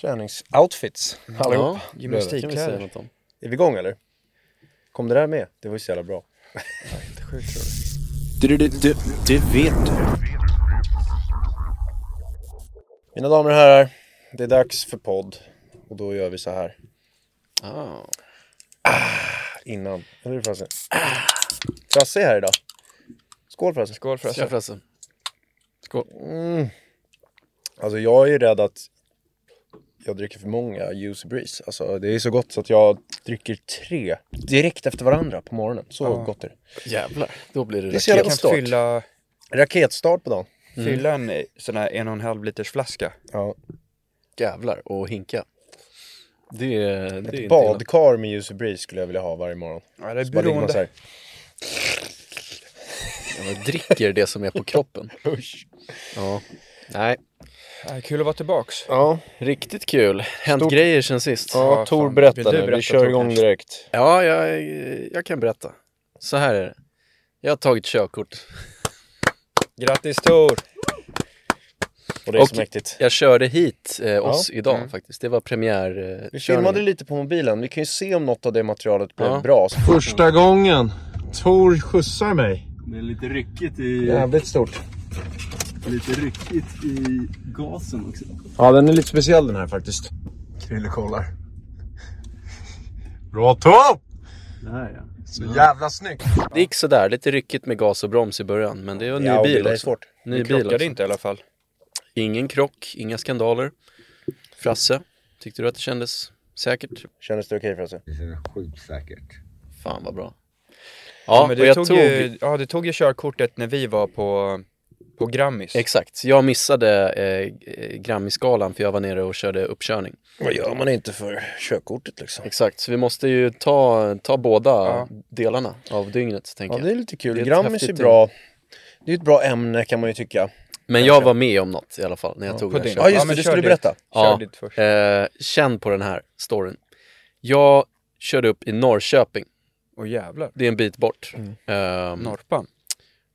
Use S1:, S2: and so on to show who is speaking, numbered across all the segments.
S1: Träningsoutfits
S2: Mm.
S1: allihop.
S2: Ja,
S1: Det kan vi
S2: gymnastikkläder.
S1: säga
S2: Det
S1: något om. Är vi igång eller? Kom det där med? Det var ju så jävla bra.
S2: är sjukt roligt.
S3: Du, du, du, du vet du.
S1: Mina damer och herrar, det är dags för podd. Och då gör vi så här.
S2: Ah,
S1: Innan. Eller hur Frasse? Frasse är här idag. Skål Frasse.
S2: skål Frasse.
S1: Tja.
S2: Frasse. Skål.
S1: Alltså jag är ju rädd att jag dricker för många juicy breeze. Alltså det är så gott så att jag dricker tre direkt efter varandra på morgonen. Så gott är det.
S2: Jävlar, då blir det,
S1: Det är
S2: det
S1: så jävla
S4: kan
S1: gott start.
S4: fylla,
S1: Raketstart på dagen.
S4: fylla en eh, sån här en och en halv liters flaska.
S1: Ja.
S2: jävlar och hinka. Det är... Det är inte
S1: Ett
S2: illa.
S1: badkar med juicy breeze skulle jag vilja ha varje morgon.
S4: Ja, det är
S1: Så bara ligger man så
S4: beroende.
S1: här.
S2: Ja, man dricker det som är på kroppen.
S1: Usch.
S2: Ja. Nej,
S4: Ja, kul att vara tillbaks.
S1: Ja,
S2: riktigt kul. Hänt grejer sen sist.
S1: ja,
S4: Ja,
S1: Tor
S4: fan. Vill
S1: berätta nu.
S4: du berätta,
S1: Vi kör
S4: Tor,
S1: igång
S4: kanske?
S1: direkt.
S2: Ja, jag, jag kan berätta. Så här är det. Jag har tagit körkort.
S4: Grattis Tor!
S1: Och det är så
S2: Och-
S1: mäktigt.
S2: Jag körde hit eh, oss
S1: Ja,
S2: idag faktiskt. Det var premiär. Eh,
S1: Vi filmade
S2: körningen.
S1: lite på mobilen. Vi kan ju se om något av det materialet blev
S2: Ja.
S1: bra. Så
S5: Första gången Tor skjutsar mig.
S6: Det är lite ryckigt i,
S5: Jävligt stort.
S6: lite ryckigt i gasen också.
S5: Ja, den är lite speciell den här faktiskt. Krille kollar. Bra Tor!
S6: Det här ja.
S5: Så jävla snyggt!
S2: det gick sådär, lite ryckigt med gas och broms i början. Men det var en ny
S1: Ja, och
S2: bil
S1: bilar är
S2: också.
S1: svårt.
S2: Ny
S4: Vi
S2: bil
S4: krockade
S2: också.
S4: inte i alla fall.
S2: Ingen krock, inga skandaler. Frasse, tyckte du att det kändes säkert?
S1: kändes det okej Frasse?
S2: Fan vad bra. Ja,
S4: Ja, men
S2: och
S4: du
S2: jag
S4: tog,
S2: tog...
S4: ju, ja, du tog ju körkortet när vi var på, på Grammis.
S2: Exakt, jag missade eh, eh, Grammisgalan för jag var nere och körde uppkörning.
S1: Vad gör man inte för körkortet liksom?
S2: Exakt, så vi måste ju ta, ta båda
S4: Ja.
S2: delarna av dygnet tänker
S1: Ja,
S2: jag.
S1: det är lite kul.
S2: Det är ett
S1: Grammis är
S2: häftigt
S1: bra. Det är ett bra ämne kan man ju tycka.
S2: Men jag var med om något i alla fall när jag tog
S4: på
S2: den här
S4: din.
S2: körkortet.
S1: Ja, just
S4: men
S1: det. Du
S4: kör
S1: skulle
S4: ditt.
S1: berätta.
S4: Kör
S2: Ja,
S4: ditt först.
S2: eh, känn på den här storyn. Jag körde upp i Norrköping,
S4: Åh jävlar.
S2: det är en bit bort.
S1: Mm.
S2: Ehm,
S4: Norpan.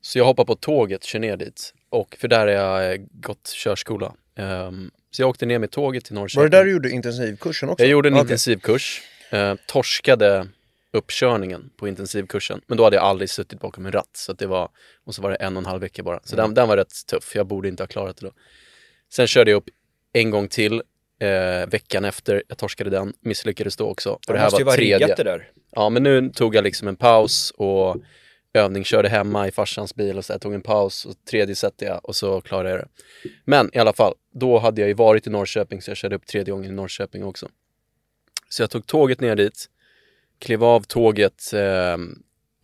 S2: Så jag hoppar på tåget, kör ner dit. Och för där har jag eh, gått körskola. Ehm, så jag åkte ner med tåget till Norrköping.
S1: Var det där du gjorde intensivkursen också?
S2: Jag gjorde en
S1: Okej.
S2: intensivkurs, eh, torskade uppkörningen på intensivkursen. Men då hade jag aldrig suttit bakom en ratt. Så att det var, och så var det en och en halv vecka bara. Så
S1: Mm.
S2: den, den var rätt tuff. Jag borde inte ha klarat det då. Sen körde jag upp en gång till eh, veckan efter. Jag torskade den, misslyckades då också. Och det här
S4: måste ju
S2: var
S4: vara riggat det
S2: tredje.
S4: där.
S2: Ja, men nu tog jag liksom en paus och övning, körde hemma i farsans bil och så där, tog en paus och tredje satte jag och så klarade jag det. Men i alla fall, då hade jag ju varit i Norrköping så jag körde upp tredje gången i Norrköping också. Så jag tog tåget ner dit, klev av tåget eh,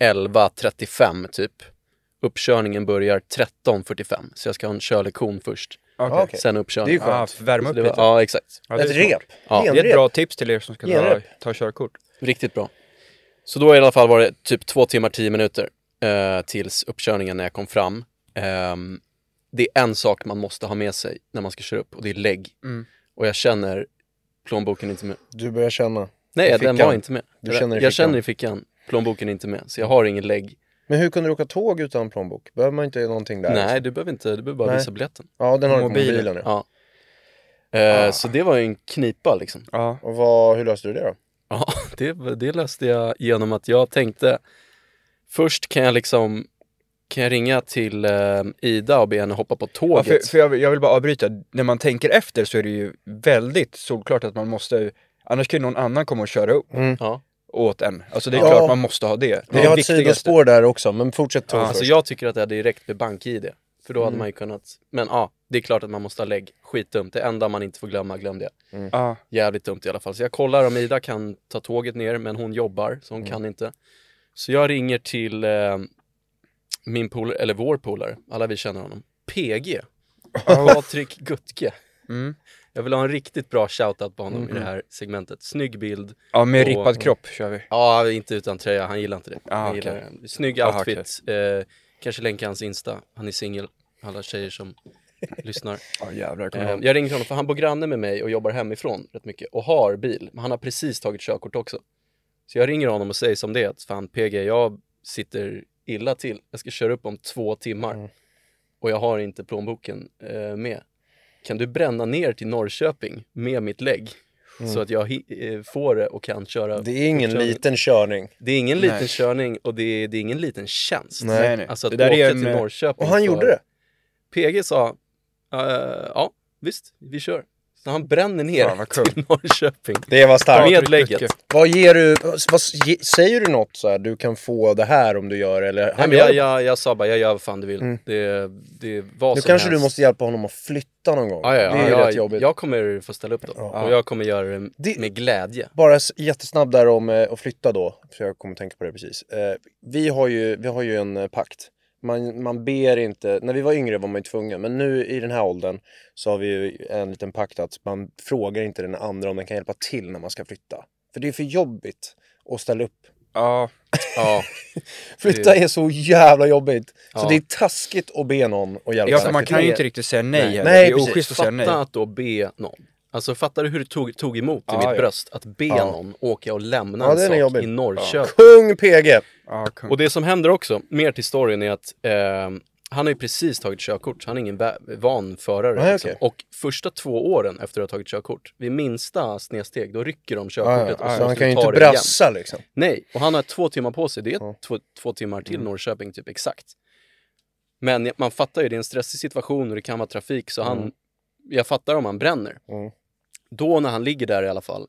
S2: 11.35 typ. Uppkörningen börjar 13.45 så jag ska ha en körlektion först,
S4: Okej.
S1: okej.
S2: sen
S1: Det är ju
S2: uppkörning.
S1: skönt.
S4: Ja, värma
S2: Så
S4: upp
S2: det var,
S4: lite.
S2: ja, exakt.
S4: Ja,
S1: Ett
S4: det, är smart.
S1: rep.
S2: Ja,
S4: det är ett bra tips till er som ska ta,
S1: Genrep.
S4: ta körkort.
S2: Riktigt bra. Så då i alla fall var det typ två timmar, tio minuter eh, tills uppkörningen när jag kom fram. Ehm, det är en sak man måste ha med sig när man ska köra upp och det är lägg.
S4: Mm.
S2: Och jag känner plånboken inte med.
S1: Du börjar känna.
S2: Nej,
S1: I
S2: den
S1: fickan.
S2: var inte med.
S1: Du känner i
S2: jag
S1: fickan.
S2: känner i fickan, plånboken är inte med. Så jag har ingen lägg.
S1: Men hur kunde du åka tåg utan plånbok? Behöver man inte någonting där?
S2: Nej, du behöver inte, du behöver bara
S1: Nej.
S2: visa biljetten.
S1: Ja, den har du på
S4: Mobilen.
S1: mobilen. Ja.
S2: Ja. Eh, Så det var ju en knipa liksom.
S4: Ja.
S1: Och vad, hur löste du det då?
S2: Ja, det, det löste jag genom att jag tänkte först kan jag liksom kan jag ringa till eh, Ida och be henne hoppa på
S4: Ja,
S2: tåget?
S4: för, för jag, jag vill bara avbryta, när man tänker efter så är det ju väldigt solklart att man måste, annars kan ju någon annan komma och köra upp
S2: ja.
S4: åt en. Alltså det är
S1: Ja.
S4: klart man måste ha det. Det är
S1: jag har
S4: det
S1: ett
S4: viktigaste.
S1: sidospår där också, men fortsätt tåg
S2: alltså
S1: först.
S2: jag tycker att det är direkt med bank-id. För då hade
S4: Mm.
S2: man ju kunnat, men ja, det är klart att man måste ha lägg. Skitdumt, det enda man inte får glömma, glöm det.
S4: Ja.
S2: Jävligt dumt i alla fall. Så jag kollar om Ida kan ta tåget ner, men hon jobbar, så hon kan inte. Så jag ringer till eh, min polare, eller vår polare, alla vi känner honom, PG. Patrik Gutke.
S4: Mm.
S2: Jag vill ha en riktigt bra shoutout på honom i det här segmentet. Snygg bild.
S4: Ja, med
S2: Och-
S4: rippad kropp kör vi.
S2: Ja, inte utan tröja. Han gillar inte det.
S4: Ah,
S2: han
S4: okej.
S2: gillar det. Snygg
S4: Ah,
S2: outfit. Eh, kanske länka hans Insta. Han är singel. Alla tjejer som lyssnar.
S4: Ja jävlar, kommer
S2: Eh,
S4: jag ihåg.
S2: jag ringde honom för han bor granne med mig och jobbar hemifrån rätt mycket och har bil. Men han har precis tagit körkort också. Så jag ringer honom och säger som det är att fan PG, jag sitter illa till. Jag ska köra upp om två timmar
S4: Mm.
S2: och jag har inte plånboken eh, med. Kan du bränna ner till Norrköping med mitt lägg?
S4: Mm.
S2: Så att jag hi- eh, får det och kan köra.
S1: Det är ingen
S2: fortkörning.
S1: liten körning.
S2: Det är ingen liten
S4: Nej.
S2: körning och det är, det är ingen liten tjänst.
S4: Nej, nej.
S2: Alltså att
S4: Det där
S2: åka
S4: är en,
S2: till
S4: eh,
S2: Norrköping.
S1: Och han
S2: för-
S1: gjorde det.
S2: PG sa, eh, ja visst, vi kör. Så han bränner
S4: Fan,
S2: ner
S4: vad kul.
S2: till Norrköping.
S1: Det var starkt.
S2: Med lägget.
S4: Gutke.
S1: Vad ger du, vad, vad, ge- säger du något så här, du kan få det här om du gör det, eller?
S2: Nej,
S1: Han
S2: men
S1: gör
S2: jag,
S1: det. Mm.
S2: jag, jag sa bara, jag gör vad fan du vill. Det, det är vad
S1: Nu
S2: som
S1: kanske
S2: helst.
S1: du måste hjälpa honom att flytta någon gång.
S2: ja, ja, ja,
S1: det är ju
S2: jag,
S1: rätt jobbigt.
S2: Jag kommer få ställa upp då. Och jag kommer göra det
S1: Det-
S2: med glädje.
S1: Bara s- jättesnabb där om eh, att flytta då, för jag kommer tänka på det precis. Eh, vi, har ju, vi har ju en eh, pakt. Man, man ber inte, när vi var yngre var man ju tvungen, men nu i den här åldern så har vi ju en liten pakt att man frågar inte den andra om den kan hjälpa till när man ska flytta. För det är för jobbigt att ställa upp.
S4: Ja,
S2: Ja,
S1: Flytta är så jävla jobbigt.
S2: Ja.
S1: Så det är taskigt att be någon att hjälpa.
S4: ja för man
S1: Det
S4: kan ju
S1: är-
S4: inte riktigt säga nej,
S1: Nej.
S4: heller.
S1: Nej,
S4: Det är
S1: precis.
S4: oschysst att säga nej.
S2: fatta att då be någon. Alltså fattar du hur det tog, tog emot i
S4: Ja,
S2: mitt
S4: ja.
S2: bröst att be någon åka och lämna
S1: Ja,
S2: en
S1: den är
S2: sak
S1: jobbig.
S2: i Norrköping.
S1: Kung PG!
S4: Ja, kung.
S2: Och det som händer också, mer till storyn, är att eh, han har ju precis tagit körkort. Han är ingen va- van förare.
S1: Nej,
S2: liksom.
S1: okej.
S2: Och första två åren efter att ha tagit körkort, vid minsta snedsteg, då rycker de körkortet och så
S1: Så han
S2: måste
S1: kan
S2: du
S1: ju
S2: ta
S1: inte
S2: det igen.
S1: brassa liksom.
S2: Nej, och han har två timmar på sig. Det är två, två timmar till
S1: Mm.
S2: Norrköping typ exakt. Men man fattar ju, det är en stressig situation och det kan vara trafik så han, jag fattar om han bränner.
S1: Mm.
S2: Då när han ligger där i alla fall,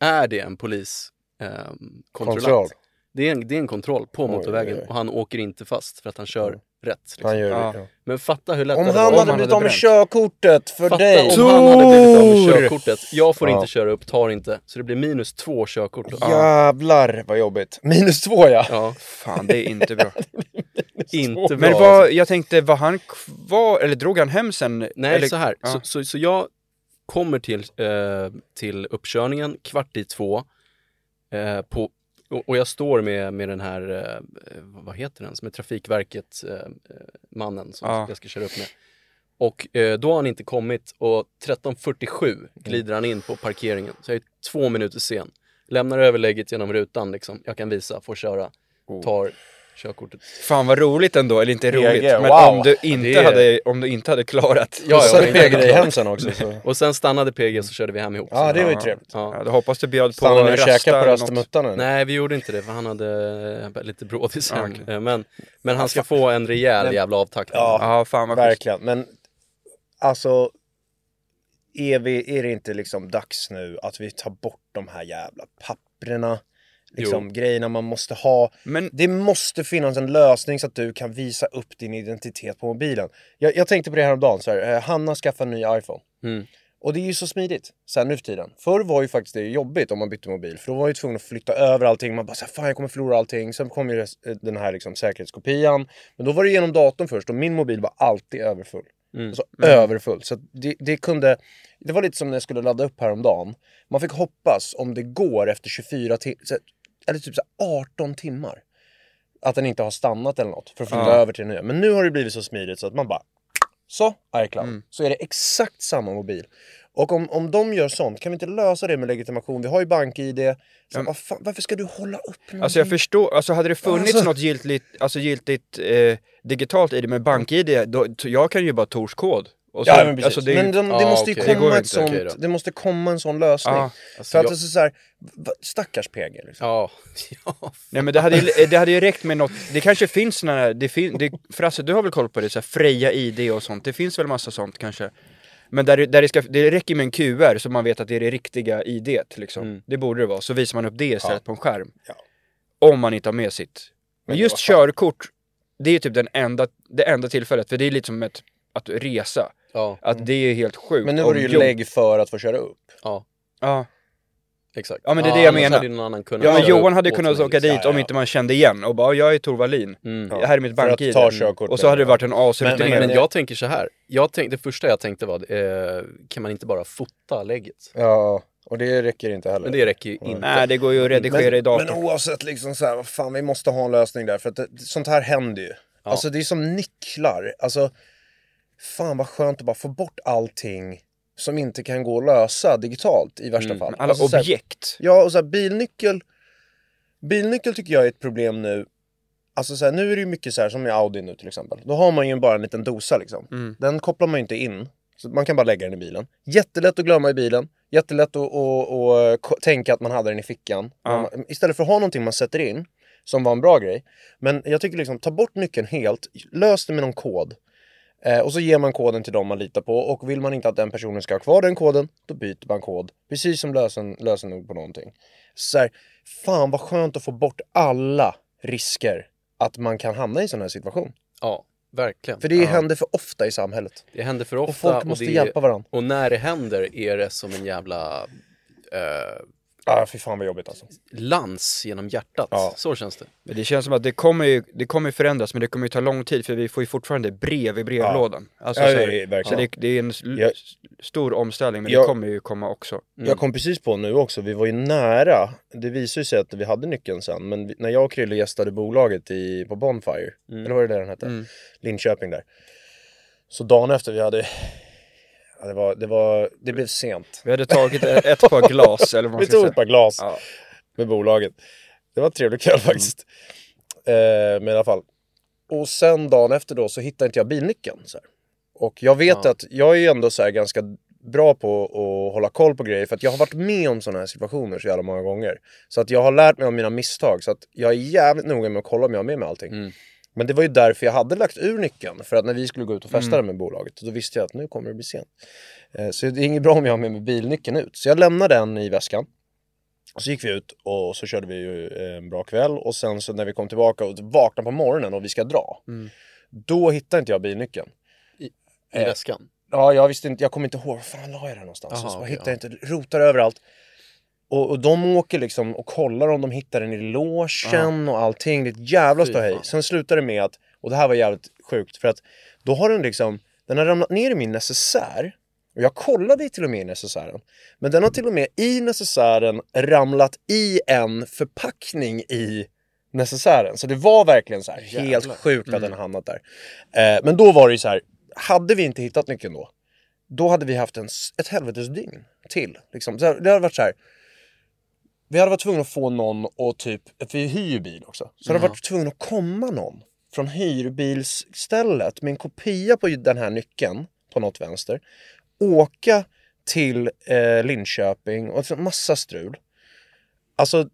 S2: är det en polis ehm, kontrollant.
S1: Kontroll.
S2: Det är, en, det är en kontroll på motorvägen
S1: oj, oj.
S2: och han åker inte fast för att han kör rätt. Liksom.
S1: Han gör det.
S4: Ja.
S1: ja.
S2: Men fatta hur lätt
S1: Om
S2: det
S1: han
S2: hade varit.
S1: hade
S4: han
S1: blivit
S4: hade
S1: av med
S4: bränt.
S1: körkortet för
S2: Fatta
S1: dig.
S2: om han hade blivit av med
S1: Tor!
S2: körkortet. Jag får
S1: Ja.
S2: inte köra upp, tar inte. Så det blir minus två körkort. då.
S1: Jävlar vad jobbigt. Minus två ja.
S2: Ja,
S4: Fan, det är inte bra.
S2: inte
S4: Men
S2: bra. alltså.
S4: vad, jag tänkte, var han kvar, eller drog han hem sen?
S2: Nej,
S4: eller,
S2: så här.
S4: Ja.
S2: Så, så, så jag kommer till, eh, till uppkörningen kvart i två. Eh, på, och, och jag står med, med den här, eh, vad heter den, som är Trafikverket-mannen som
S4: Ja.
S2: jag ska köra upp med. Och eh, då har han inte kommit och 13.47 glider han in på parkeringen. Så jag är två minuter sen. Lämnar överlägget genom rutan liksom. Jag kan visa, får köra,
S4: Oh.
S2: tar körkortet.
S4: Fan vad roligt ändå, eller inte roligt,
S1: PG,
S4: men
S1: wow.
S4: om, du inte
S2: Det är-
S4: hade, om du inte hade klarat...
S2: Ja, ja,
S1: Sen
S2: det är
S1: pegade
S2: klart.
S1: dig hem sen också. Så.
S2: Och sen stannade PG så körde vi hem ihop.
S1: Ja, det var ju trevligt.
S2: Ja.
S4: Mm. Ja, då hoppas du bjöd på
S1: Stannade ni och käkade på
S4: eller Ah, något.
S1: rastmuttarna?
S2: Nej, vi gjorde inte det för han hade eh, lite brådis hem. Eh, Men, men han ska få en rejäl jävla avtackning.
S1: Ja,
S4: Ja, fan vad schysst.
S1: verkligen. Men alltså, är, vi, är det inte liksom dags nu att vi tar bort de här jävla papprena? Liksom grejerna man måste ha.
S4: Men
S1: Det måste finnas en lösning så att du kan visa upp din identitet på mobilen. Jag, jag tänkte på det här om dagen, så här, eh, Hanna skaffade en ny iPhone.
S2: Mm.
S1: Och det är ju så smidigt så här, nu för tiden. Förr var ju faktiskt det jobbigt om man bytte mobil, för då var man ju tvungen att flytta över allting. Man bara så här, fan jag kommer förlora allting. Sen kom ju res- eh, den här liksom, säkerhetskopian. Men då var det genom datorn först och min mobil var alltid överfull. Alltså överfull. Så att det, det kunde, det var lite som när jag skulle ladda upp häromdagen. Man fick hoppas om det går efter 24 timmar, eller typ så här 18 timmar. Att den inte har stannat eller något för att flytta
S4: Ja.
S1: över till den nya. Men nu har det blivit så smidigt så att man bara så, iCloud. Så är det exakt samma mobil. Och om, om de gör sånt, kan vi inte lösa det med legitimation? Vi har ju bank-id. Så vad fan, varför ska du hålla upp någonting?
S4: Alltså jag förstår, alltså hade det funnits
S1: Alltså-
S4: något giltigt, alltså giltigt eh, digitalt i det med bank-id, då, t- jag kan ju bara Tors kod. Och så-
S1: Ja, men precis.
S4: alltså, det är ju-
S1: men de, det,
S2: Ah,
S1: måste ju
S2: okej. Det
S1: komma
S4: går
S1: ett
S4: inte.
S1: sånt,
S2: Okej då.
S1: det måste komma en sån lösning.
S4: Ah.
S1: För att
S2: jag-
S1: det är så här, va- stackars PG. Liksom.
S2: Ja. ja.
S4: Nej men det hade, ju- eh, det hade ju räckt med något, det kanske finns såna här, det fin, det, Frasse du har väl koll på det, så här, Freja ID och sånt, det finns väl massa sånt kanske? Men där, det- där det, ska, det räcker med en QR så man vet att det är det riktiga ID liksom, det borde det vara, så visar man upp det istället på en skärm.
S1: Mm. Ja.
S4: Om man inte har med sitt. Men
S1: det
S4: just
S1: var fan-
S4: körkort, det är ju typ den enda, det enda tillfället, för det är lite som ett, att resa,
S2: ja.
S1: Mm.
S4: att det är helt sjukt.
S1: Men nu var det ju
S4: Om-
S1: lägg för att få köra upp.
S2: ja.
S4: Ja,
S2: Exakt.
S4: Ja, men det är det jag
S2: annars
S4: menar.
S2: Hade ju någon annan kunnat
S4: Ja, men
S2: köra
S4: Johan
S2: upp
S4: hade
S2: åt
S4: kunnat
S2: mig,
S4: åka
S2: liksom.
S4: dit om inte man kände igen och bara, jag är Tor Wallin. Här är mitt
S1: För att
S4: bank-id.
S1: ta körkort
S4: Och så hade det varit en
S2: Men, men,
S4: asrutinerad.
S2: men jag tänker så här. Jag tänk, det första jag tänkte var, eh, kan man inte bara fota lägget?
S1: Ja, och det räcker inte heller.
S2: Men det räcker ju inte.
S4: Nej, det går ju att redigera i datorn.
S1: Men oavsett liksom så här, vad fan vi måste ha en lösning där för att det, sånt här händer ju. Alltså det är som nycklar. Alltså fan vad skönt att bara få bort allting som inte kan gå att lösa digitalt i värsta fall.
S4: Mm. Alla
S1: alltså, så här-
S4: objekt.
S1: Ja, och så här, bilnyckel. Bilnyckel tycker jag är ett problem nu. Alltså så här, nu är det ju mycket så här som i Audi nu till exempel. Då har man ju bara en liten dosa liksom. Den kopplar man ju inte in. Så man kan bara lägga den i bilen. Jättelätt att glömma i bilen. Jättelätt att att- att ko- tänka att man hade den i fickan.
S4: Ja.
S1: Man- Istället för att ha någonting man sätter in, som var en bra grej. Men jag tycker liksom, ta bort nyckeln helt. Lös det med någon kod. Eh, och så ger man koden till dem man litar på och vill man inte att den personen ska ha kvar den koden, då byter man kod. Precis som lösen, lösenord på någonting. Så här, fan vad skönt att få bort alla risker att man kan hamna i en sån här situation.
S2: Ja, verkligen.
S1: För det
S2: ja.
S1: händer för ofta i samhället.
S2: det händer för ofta.
S1: Och folk måste
S2: det,
S1: hjälpa varandra.
S2: Och när det händer är det som en jävla eh,
S1: Ah, fy fan vad jobbigt alltså.
S2: lans genom hjärtat.
S1: Ja.
S2: Så känns det.
S4: Men det känns som att det kommer ju det kommer ju förändras, men det kommer ju ta lång tid för vi får ju fortfarande brev i brevlådan. Alltså,
S1: Ja,
S4: så här,
S1: det är
S4: så
S1: verkligen.
S4: det, det är en sl-
S1: Ja.
S4: stor omställning, men
S1: Ja.
S4: det kommer ju komma också.
S1: Jag kom precis på nu också, vi var ju nära. Det visade ju sig att vi hade nyckeln sen, men vi, när jag och Krille gästade bolaget i, på Bonfire, eller vad det där den hette, Linköping där. Så dagen efter vi hade, ja, det, var, det, var, det blev sent.
S4: Vi hade tagit ett ett par glas, eller vad man
S1: Vi
S4: ska
S1: tog ett
S4: säga.
S1: par glas
S4: Ja.
S1: med bolaget. Det var en trevlig kväll faktiskt. Eh, men i alla fall. Och sen dagen efter då så hittade inte jag bilnyckeln. Så här. Och jag vet att jag är ju ändå så här ganska bra på att hålla koll på grejer för att jag har varit med om sådana här situationer så jävla många gånger. Så att jag har lärt mig av mina misstag så att jag är jävligt noga med att kolla om jag har med mig allting. Men det var ju därför jag hade lagt ur nyckeln för att när vi skulle gå ut och festa med bolaget då visste jag att nu kommer det bli sent. Eh, Så det är inget bra om jag har med mig bilnyckeln ut. Så jag lämnar den i väskan. Och så gick vi ut och så körde vi ju eh, en bra kväll och sen så när vi kom tillbaka och vaknade på morgonen och vi ska dra. Då hittade inte jag bilnyckeln.
S2: I
S1: Eh,
S2: väskan.
S1: Ja, jag visste inte, jag kommer inte ihåg, var fan la jag den någonstans?
S2: Aha,
S1: och så bara,
S2: okej,
S1: hittar jag inte, rotar överallt. Och, och de åker liksom och kollar om de hittar den i logen och allting. Det är ett jävla
S2: Fy
S1: ståhej.
S2: fan.
S1: Sen slutar det med att, och det här var jävligt sjukt, för att då har den liksom, den har ramlat ner i min necessär. Och jag kollade till och med i necessären. Men den har till och med i necessären ramlat i en förpackning i necessären. Så det var verkligen så här helt sjukt att den har hamnat där. Eh, men då var det ju så här, hade vi inte hittat nyckeln då, då hade vi haft en, s- ett helvetes dygn till. Liksom. Så här, Det hade varit så här. Vi hade varit tvungna att få någon och typ, för vi hyr ju bil också, så det hade varit tvungna att komma någon från hyrbilsstället med en kopia på den här nyckeln på något vänster, åka till eh, Linköping och en massa strul. Alltså,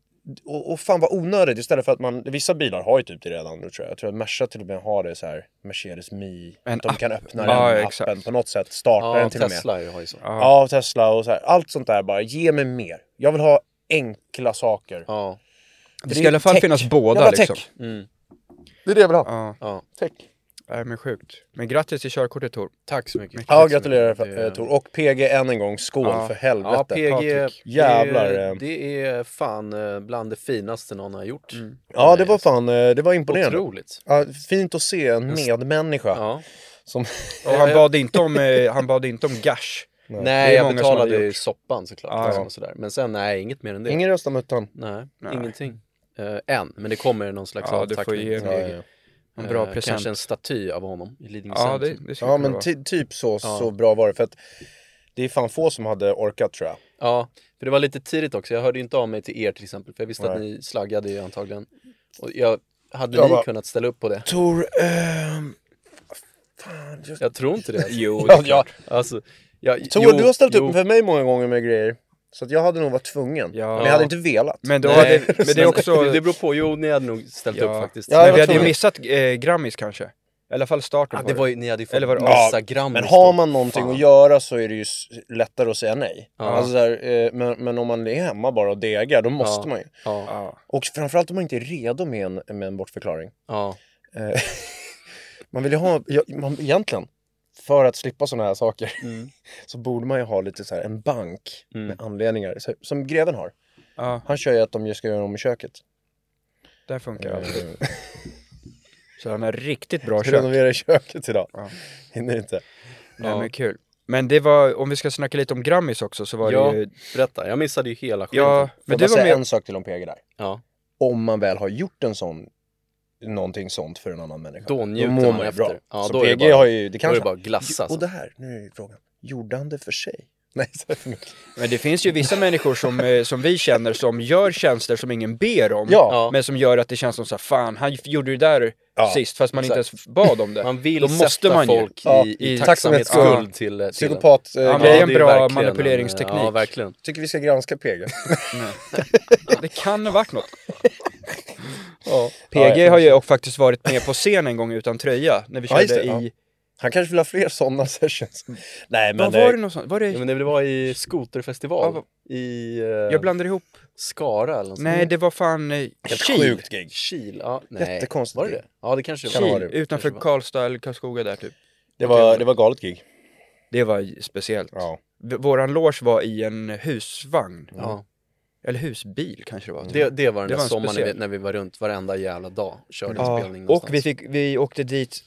S1: och, och fan vad onödigt istället för att man, vissa bilar har ju typ det redan nu tror jag. Jag tror att Merca till och med har det så här, Mercedes Mi,
S4: En
S1: de kan öppna den
S4: Ja,
S1: appen
S4: exakt.
S1: på något sätt, starta
S2: Ja,
S1: den till och med.
S2: Tesla har ju så. Ja.
S1: Ja, Tesla och så här. Allt sånt där bara, ge mig mer. Jag vill ha enkla saker.
S2: Ja.
S4: Det ska i alla fall
S1: tech.
S4: finnas
S1: Jag
S4: båda
S1: vill ha
S4: liksom.
S1: tech.
S2: Mm.
S1: Det är det jag vill ha.
S4: Ja,
S1: Tech.
S4: nej, men sjukt. Men grattis till körkortet Tor.
S2: Tack så mycket.
S1: Ja, gratulerar
S2: Det-
S1: eh, Tor. Och PG än en gång, skål
S4: Ja.
S1: för
S2: Ja,
S1: helvete. Ja,
S2: PG, det,
S1: Jävlar, eh.
S2: det är fan eh, bland det finaste någon har gjort.
S4: Mm.
S1: det var fan, eh, det var imponerande.
S2: Otroligt.
S1: Ja, fint att se en medmänniska
S2: Ja.
S1: som...
S4: Och han bad inte om, eh, han bad inte om gash.
S2: Nej,
S4: Det är
S2: jag
S4: många som
S2: betalade
S4: hade
S2: ju
S4: gjort.
S2: soppan såklart.
S4: Ja,
S2: liksom,
S4: ja.
S2: och sådär. Men sen, nej, inget mer än det.
S1: Ingen röst om utan.
S2: Nej,
S4: Nej.
S2: ingenting. Eh, än, men det kommer någon slags
S4: Ja, du får
S2: avtackning.
S4: ge
S2: till
S4: mig
S2: PG.
S4: En bra
S2: Eh,
S4: present.
S2: Kanske en staty av honom i Lidingö
S4: Ja, det,
S2: centrum.
S4: det skulle
S1: Ja,
S4: kunna
S1: men
S4: vara.
S1: ty- typ så,
S2: Ja.
S1: så bra var det. För att det är fan få som hade orkat tror jag.
S2: Ja, för det var lite tidigt också. Jag hörde ju inte av mig till er till exempel, för jag visste att
S1: Nej.
S2: ni slaggade ju antagligen. Och jag, hade
S1: Jag
S2: ni
S1: bara-
S2: kunnat ställa upp på det?
S1: Tor, ehm, fan, just...
S2: Jag tror inte det. alltså.
S4: Jo, det är
S2: ja, ja, alltså, ja,
S1: Tor,
S2: jo,
S1: du har ställt
S2: jo,
S1: upp för mig många gånger med grejer. Så att jag hade nog varit tvungen.
S4: Ja.
S1: Men jag hade inte velat.
S4: Men, då
S2: Nej,
S4: hade, men det är också...
S2: Det beror på. Jo, ni hade nog ställt
S4: Ja.
S2: upp faktiskt.
S1: Ja, jag
S4: men
S1: var
S4: vi hade ju
S1: tvungen.
S4: missat eh, Grammis kanske. I alla fall starten
S2: Ja,
S4: på
S2: det var ju, ni hade ju fått
S4: Eller var det-
S2: massa
S1: Ja,
S2: gram
S1: Men
S2: i
S1: har
S2: stort.
S1: man någonting
S2: Fan.
S1: att göra så är det ju s- lättare att säga nej. Alltså så här, eh, men, men om man är hemma bara och degar, då måste
S2: Ja.
S1: man ju.
S2: Ja,
S4: Ja.
S1: Och framförallt om man inte är redo med en, med en bortförklaring.
S2: ja.
S1: Eh, man vill ju ha, ja, man, egentligen, för att slippa sådana här
S4: Mm.
S1: saker, så borde man ju ha lite så här en bank med anledningar, så, som greven har.
S4: Ja,
S1: Han kör ju att de ska göra om i köket.
S4: där funkar allt. Så han har riktigt bra
S1: Ska
S4: kök.
S1: renovera i köket idag.
S4: Ja.
S1: Hinner inte.
S4: Nej men kul. Men det var, om vi ska snacka lite om Grammis också så var
S2: Ja.
S4: det ju,
S2: Berätta, jag missade ju hela skiten.
S4: ja, men
S1: Men
S4: du
S1: jag
S4: var
S1: säga
S4: med,
S1: en sak till om PG där.
S2: Ja.
S1: Om man väl har gjort en sån, någonting sånt för en annan människa.
S2: Då njuter
S1: mår
S2: man
S1: ju
S2: efter.
S1: Bra.
S2: Ja,
S1: så
S2: då är det
S1: PG
S2: bara-
S1: har ju, det
S2: Då är
S1: kanske...
S2: det bara glass alltså.
S1: Och det här, nu är ju frågan. Gjorde han det för sig? Nej, så är det för mycket.
S4: men det finns ju vissa människor som, eh, som vi känner som gör tjänster som ingen ber om.
S1: Ja.
S2: Ja.
S4: Men som gör att det känns som så här, fan han gjorde det där
S1: Ja.
S4: sist fast man inte ens bad om det.
S2: Man vill
S4: Då måste
S2: sätta
S4: man ju.
S2: folk
S1: Ja,
S2: i,
S4: i
S2: i tacksamhetsskuld till, till
S1: Psykopat. Eh,
S4: Ja, men
S1: grej.
S4: det är en bra
S2: verkligen en-
S4: manipuleringsteknik.
S2: Ja, verkligen.
S1: Tycker vi ska granska PG.
S4: Det kan ha varit något.
S1: Ja,
S4: PG
S1: ja.
S4: har ju och faktiskt varit med på scen en gång utan tröja när vi
S1: Ja,
S4: körde
S1: just det, ja.
S4: i,
S1: Han kanske vill ha fler sådana sessions. Nej, men...
S4: vad var
S1: eh,
S4: det någon sån, var det,
S2: Ja, men det var i skoterfestival
S4: Ja,
S2: i eh,
S4: jag blandar ihop,
S2: Skara eller något sånt.
S4: nej det var fan eh,
S1: Helt
S4: Kil,
S1: sjukt gig.
S2: Kil, ja, nej.
S1: Jättekonstigt
S2: Var det
S1: gig.
S2: det? Ja, det kanske det
S1: Kil.
S2: var.
S4: Kil
S1: det.
S4: utanför
S2: Kanske var.
S4: Karlstad eller Karlskoga där typ.
S1: Det var, det var galet gig.
S4: Det var speciellt.
S1: Ja.
S4: V- Våran loge var i en husvagn.
S2: Ja,
S4: Eller husbil kanske det var.
S1: Mm.
S2: det, det var den
S4: Det
S2: där
S4: var en
S2: sommaren när vi,
S4: speciell.
S2: när vi var runt varenda jävla dag och körde en
S4: ja.
S2: spelning
S4: Och
S2: någonstans.
S4: vi, fick, vi åkte dit,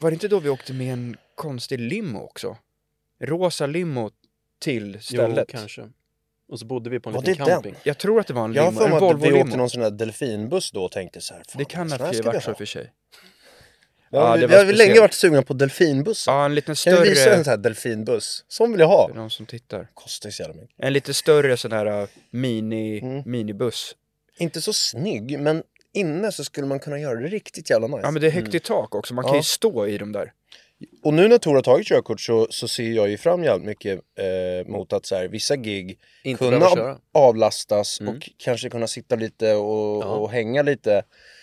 S4: var det inte då vi åkte med en konstig limo också? Rosa limo till stället.
S2: Jo, kanske. Och så bodde vi på en
S1: Var
S2: liten
S1: det den?
S2: camping.
S4: Jag tror att det var en
S1: Jag har
S4: limo,
S1: för
S4: en
S1: mig att vi åkte
S4: Volvo-limo.
S1: någon sån där delfinbuss då och tänkte så här, fan,
S4: Det kan
S1: sån
S4: ha
S1: här
S4: ju
S1: ska vi
S4: varit så
S1: ha.
S4: i och för sig.
S1: Ja,
S4: Ja,
S1: vi,
S4: det
S1: vi
S4: var
S1: har väl länge
S4: speciellt.
S1: varit sugna på delfinbussen.
S4: Ja, en liten
S1: Kan vi visa
S4: större,
S1: en sån här delfinbuss? Sån vill jag ha.
S4: för de som tittar.
S1: Kostar ju så jävla mycket.
S4: En lite större sån här uh, mini,
S1: Mm.
S4: minibuss.
S1: Inte så snygg, men inne så skulle man kunna göra det riktigt jävla nice.
S4: Ja men det är högt i tak också, man kan
S1: Mm. Ja.
S4: ju stå i dem där.
S1: Mm. Och nu när Tor har tagit körkort så, så ser jag ju fram jävligt mycket eh, mot att så här, vissa gig
S2: Inte
S1: kunna
S2: behöva
S1: av-
S2: köra.
S1: avlastas
S2: Mm.
S1: och kanske kunna sitta lite och,
S2: Ja.
S1: och hänga lite.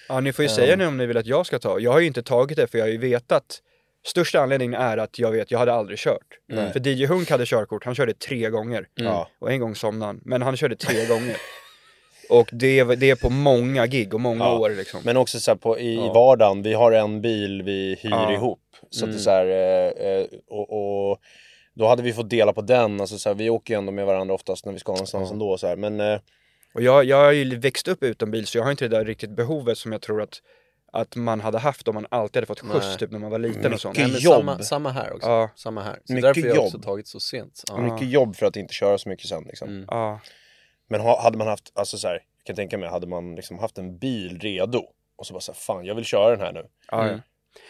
S4: Ja ni får ju säga nu om ni vill att jag ska ta, jag har ju inte tagit det för jag har ju vetat Största anledningen är att jag vet, jag hade aldrig kört.
S1: Nej. Mm.
S4: För DJ Hunk hade körkort, han körde tre gånger.
S1: Ja.
S4: Och en gång somnade han, men han körde tre gånger. Och det, var- det är på många gig och många
S1: Ja.
S4: år liksom.
S1: Men också så här på, i, i
S4: Ja.
S1: vardagen, vi har en bil vi hyr
S4: Ja.
S1: ihop. Så att
S2: Mm.
S1: det är så här, eh, eh, och, och då hade vi fått dela på den. Alltså så här, vi åker ju ändå med varandra oftast när vi ska någonstans
S4: Ja.
S1: ändå. Så här. Men eh,
S4: Och jag, jag har ju växt upp utan bil så jag har inte det där riktigt behovet som jag tror att, att man hade haft om man alltid hade fått skjuts
S2: Nej.
S4: typ när man var liten och sånt.
S1: Mycket
S2: Nej, men
S1: jobb.
S2: Samma, samma här också.
S4: Ja.
S2: Samma här. Så
S1: Mycket
S2: därför har jag också
S1: jobb. Mm.
S2: tagit så sent. Ja.
S1: mycket jobb för att inte köra så mycket sen. Liksom.
S2: Mm.
S4: Ja,
S1: Men ha, hade man haft, alltså så här, jag kan tänka mig, hade man liksom haft en bil redo och så bara så här, fan jag vill köra den här nu.
S4: ja,
S2: Mm.
S4: ja.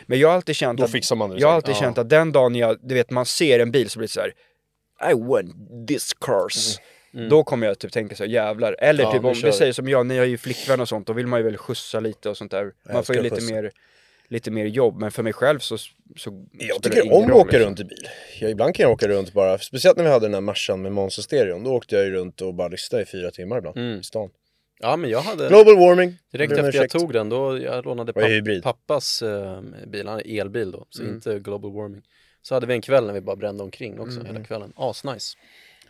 S4: Men jag har alltid känt
S1: Då
S4: att,
S1: fixar man det. liksom.
S4: jag har alltid
S2: Ja.
S4: känt att den dagen jag, du vet man ser en bil så blir det så här. I want this cars.
S2: Mm.
S4: Då kommer jag typ tänka så här, jävlar. Eller
S2: Ja,
S4: typ
S2: nu
S4: om
S2: kör
S4: vi
S2: vi.
S4: säger som jag, ni har ju flickvän och sånt, då vill man ju väl skjutsa lite och sånt där. Man får ju
S1: älskar
S4: lite
S1: skjuts.
S4: mer, lite mer jobb, men för mig själv så, så
S1: Jag
S4: spelar det
S1: tycker
S4: ingen
S1: om att
S4: roll,
S1: åka
S4: liksom.
S1: runt i bil. Jag, ibland kan jag åka runt bara, speciellt när vi hade den här Mercan med Monster Stereon. Då åkte jag ju runt och bara lyssnade i fyra timmar ibland
S2: Mm.
S1: i stan.
S2: ja, men jag hade...
S1: Global warming.
S2: Direkt
S1: Ber om
S2: efter jag
S1: ursäkt.
S2: tog den, då jag lånade
S1: Vad är
S2: papp-
S1: hybrid? Mm.
S2: pappas eh, bil, han är elbil då, så inte global warming. Så hade vi en kväll när vi bara brände omkring också
S1: Mm.
S2: hela kvällen. Asnice.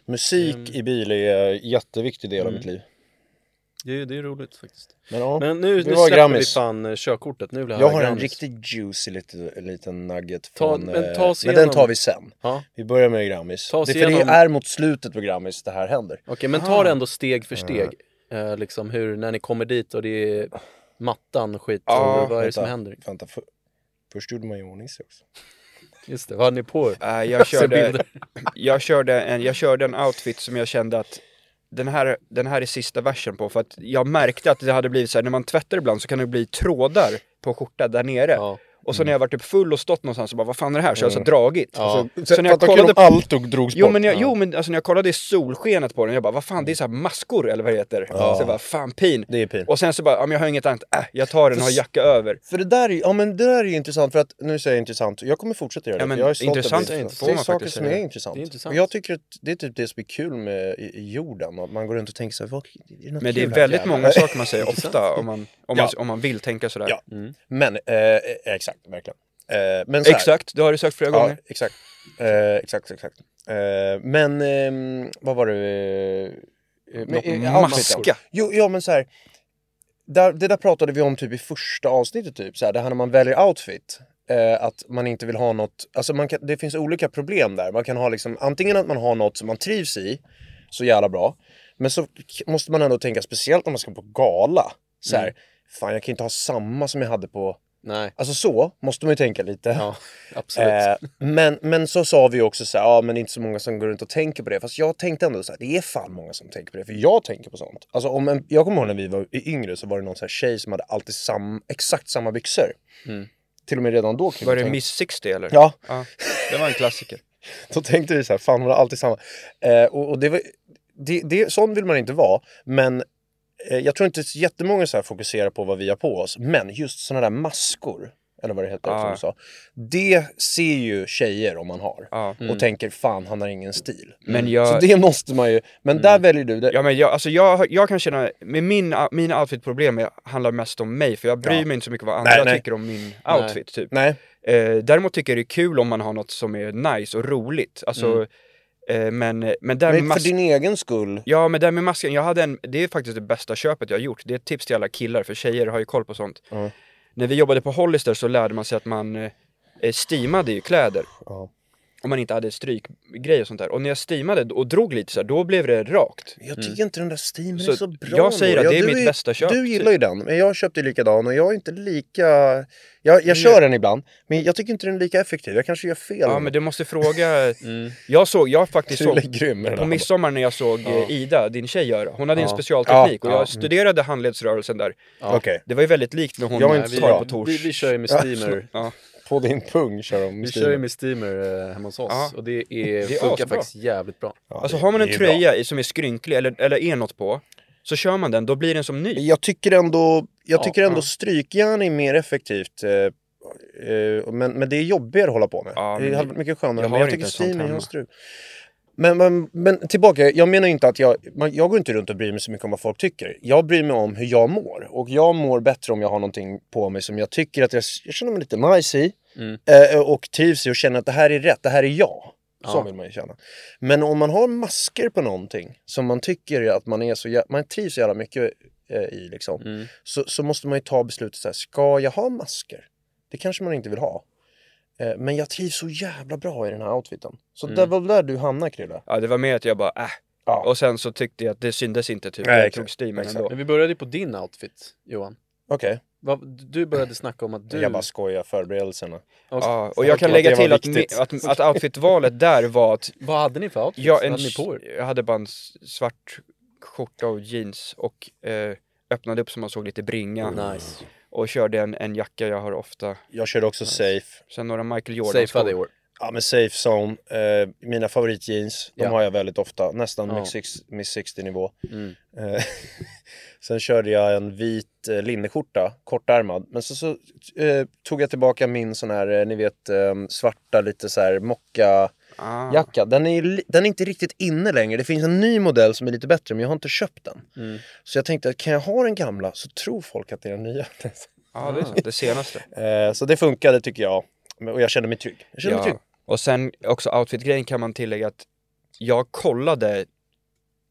S1: Musik
S2: Mm.
S1: i bil är en jätteviktig del av mitt liv.
S2: Det, är- det är roligt faktiskt.
S1: Men, ja,
S2: Men nu, nu
S1: det
S2: släpper
S1: var Grammis.
S2: vi fan eh, körkortet, nu blir det
S1: Jag
S2: här
S1: har en
S2: Grammis.
S1: riktigt juicy liten, liten nugget
S2: Ta-
S1: från...
S2: men
S1: eh,
S2: ta oss
S1: men den
S2: igenom.
S1: tar vi sen.
S2: Ja.
S1: Vi börjar med Grammis.
S2: Ta oss
S1: Det, för det
S2: igenom.
S1: är mot slutet på Grammis det här händer.
S2: Okej, men ta det ändå steg för steg. Eh, liksom hur, när ni kommer dit och det är mattan och skit,
S4: Ja,
S2: och vad är det som
S1: Vänta,
S2: händer?
S1: Vänta, för, först gjorde man ju i ordning sig också.
S2: Just det, vad hade ni på er?
S4: Nej, Eh, jag
S2: ser
S4: körde,
S2: bilder.
S4: jag, körde en, jag körde en outfit som jag kände att den här, den här är sista versen på för att jag märkte att det hade blivit så här, när man tvättar ibland så kan det bli trådar på skjortan där nere.
S2: Ja.
S4: Och så när jag var typ full och stått någonstans så bara vad fan är det här? Så jag har så dragit. Alltså,
S2: Ja.
S4: Så, så när jag
S1: Fattar kul om
S4: kollade på
S1: allt och drogs
S4: Jo
S1: bort.
S4: men, jag, jo men alltså när jag kollade i solskenet på den, jag bara vad fan det är så här maskor eller vad det heter. Så jag bara fan pin.
S1: Det är pin.
S4: Och sen så bara, ja men jag har inget annat, äh, jag tar den och har jacka över.
S1: För det där är ju, ja men det där är ju intressant för att, nu säger jag intressant, jag kommer fortsätta göra det.
S4: Ja, men
S1: för jag är stolt över
S4: intressant
S1: det.
S4: är inte- får
S1: det är
S4: man
S1: saker
S4: faktiskt
S1: som
S4: säga.
S1: är intressant.
S2: Det är intressant.
S1: Och jag tycker att det är typ det som är kul med i, i jorden, att man går runt och tänker så här, vad, är det något
S4: Men det är
S1: kul här?
S4: väldigt
S1: Jävlar.
S4: många saker man säger ofta om man, om man,
S1: Ja.
S4: om man vill tänka sådär.
S1: Ja. Men, eh, eh, exakt, verkligen. Eh, men så här,
S4: Mm. Exakt, det har du sagt flera
S1: Ja,
S4: gånger.
S1: exakt. Eh, exakt, exakt. Eh, men, ehm, vad var det? Eh, eh, men,
S4: Något
S1: eh, outfiten.
S4: maska.
S1: Jo, ja men så här. Där, det där pratade vi om typ i första avsnittet, typ. Så här, det här när man väljer outfit. Eh, att man inte vill ha något, alltså man kan, det finns olika problem där. Man kan ha liksom, antingen att man har något som man trivs i så jävla bra. Men så k- måste man ändå tänka, speciellt när man ska på gala, så här, fan jag kan inte ha samma som jag hade på...
S2: Nej,
S1: Alltså så måste man ju tänka lite.
S2: ja, absolut.
S1: Eh, men, men så sa vi också så här, ja men det är inte så många som går runt och tänker på det. Fast jag tänkte ändå så här, det är fan många som tänker på det. För jag tänker på sånt. Alltså om en, jag kommer ihåg när vi var yngre så var det någon så här tjej som hade alltid sam, exakt samma byxor. Till och med redan då. kunde
S4: Mm. Var
S1: jag
S4: det
S1: tänka-
S4: Miss 60 eller?
S1: Ja,
S4: ja. Det var en klassiker.
S1: då tänkte vi så här, fan hon har alltid samma. Eh, och, och det var, det, det, sån vill man inte vara. Men eh, jag tror inte så jättemånga så här fokuserar på vad vi har på oss. Men just såna där maskor, eller vad det heter som
S4: Ah.
S1: du sa. Det ser ju tjejer om man har.
S4: Ja.
S1: Och tänker fan han har ingen stil.
S4: Ah.
S1: Mm.
S4: Men jag...
S1: Så det måste man ju, men där väljer du det.
S4: Ja men jag, alltså jag, jag kan känna, med min, mina outfitproblem är- handlar mest om mig för jag bryr
S1: Ja.
S4: mig inte så mycket vad
S1: Nej,
S4: andra
S1: nej.
S4: tycker om min outfit typ.
S1: Nej,
S4: Eh, däremot tycker jag det är kul om man har något som är nice och roligt. Alltså, eh, men, men där
S1: Mm.
S4: med
S1: men för
S4: masken,
S1: din egen skull.
S4: ja men där med masken, jag hade en, det är faktiskt det bästa köpet jag har gjort. Det är ett tips till alla killar för tjejer har ju koll på sånt.
S1: Ja.
S4: När vi jobbade på Hollister så lärde man sig att man eh, eh, steamade ju kläder.
S1: Ja.
S4: Om man inte hade strykgrej och sånt där. Och när jag steamade och drog lite så här, då blev det rakt.
S1: Jag tycker inte den där steamen
S4: Mm. Så
S1: är så bra.
S4: jag säger
S1: ändå.
S4: att det är
S1: du
S4: mitt bästa köp,
S1: Du gillar
S4: typ.
S1: ju den, men jag köpte ju likadan och jag är inte lika... Jag, jag kör den ibland, men jag tycker inte den är lika effektiv. Jag kanske gör fel.
S4: Mm. Ja men du måste fråga, jag såg, jag faktiskt
S1: Sula Mm. är
S4: såg
S1: grym med den
S4: på
S1: här.
S4: midsommar när jag såg eh, Ida, din tjej göra, hon hade en
S2: Ja.
S4: specialteknik
S1: Ja, ja,
S4: och jag
S1: mm.
S4: studerade handledsrörelsen där.
S1: Okej,
S4: Det var ju väldigt likt när hon
S1: Jag är
S4: eh,
S1: inte så
S4: tar
S1: bra.
S4: på tors.
S2: vi, vi kör ju med steamer.
S1: på din pung kör de
S2: Vi
S1: steamen.
S2: kör ju med steamer eh, hemma hos oss
S4: Ja.
S2: och det, är,
S4: Det är
S2: funkar
S4: asbra.
S2: faktiskt jävligt bra.
S4: Alltså har man en
S1: Det är
S4: tröja i- som är skrynklig eller, eller är något på, så kör man den, då blir den som ny.
S1: Jag tycker ändå, jag
S2: Ja,
S1: tycker ändå
S4: ja. mm.
S1: strykjärn är mer effektivt. eh, eh, Men, men det är jobbigare att hålla på med.
S4: Ja,
S1: det
S4: men-
S1: hade varit mycket skönare.
S4: jag
S1: men
S4: har
S1: jag tycker
S4: inte ett sånt
S1: steamen är
S4: hemma.
S1: en strul. Men, men, men tillbaka, jag menar inte att jag, man, jag går inte runt och bryr mig så mycket om vad folk tycker. Jag bryr mig om hur jag mår. Och jag mår bättre om jag har någonting på mig som jag tycker att jag, jag känner mig lite nice i.
S4: Mm.
S1: Eh, och trivs i och känner att det här är rätt, det här är jag. Så
S2: Ja.
S1: vill man ju känna. Men om man har masker på någonting som man tycker att man är så jä- man trivs så jävla mycket eh, i liksom.
S4: Mm.
S1: Så, så måste man ju ta beslutet så här, ska jag ha masker? Det kanske man inte vill ha. Eh, men jag trivs så jävla bra i den här outfiten. Så
S2: Mm.
S1: det var väl där du hamnade Krille?
S4: Ja, det var mer att jag bara äh.
S1: Ja.
S4: Och sen så tyckte jag att det syndes inte typ,
S1: Nej,
S4: jag
S1: exakt.
S4: tog steamen
S1: Exakt.
S4: ändå.
S2: Men vi började ju på din outfit, Johan.
S1: Okej,
S2: Vad- Du började snacka om att du...
S1: jag bara skojar förberedelserna.
S2: Okej.
S4: Ja, och jag kan
S1: Okej. Det
S4: lägga
S1: var
S4: till att, mi-
S1: viktigt.
S4: att, att outfitvalet där var att
S2: Vad hade ni för outfits?
S4: Ja,
S2: Vad
S4: en,
S2: hade ni på er?
S4: s- jag hade bara en s- svart skjorta och jeans och eh, öppnade upp så man såg lite bringa
S1: Oh,
S2: Nice.
S4: och körde en, en jacka jag har ofta.
S1: Jag körde också safe.
S4: Sen några Michael Jordan
S2: Safeade i år.
S1: Ja men safe zone. Eh, mina favoritjeans, de
S2: Ja.
S1: har jag väldigt ofta. Nästan
S2: Ja.
S1: Miss six- Miss 60 nivå.
S2: Mm.
S1: Eh, Sen körde jag en vit eh, linneskjorta, kortärmad. Men så, så eh, tog jag tillbaka min sån här, eh, ni vet, eh, svarta lite så här mocka-jacka.
S4: Ah.
S1: Den, är, li- den är inte riktigt inne längre. Det finns en ny modell som är lite bättre, men jag har inte köpt den.
S2: Mm.
S1: Så jag tänkte, kan jag ha den gamla så tror folk att det är den nya.
S4: Ja, det är sant. Det senaste.
S1: eh, så det funkade tycker jag. Men- Och jag kände mig trygg. Jag kände mig
S4: Ja.
S1: trygg.
S4: Och sen också outfitgrejen kan man tillägga att jag kollade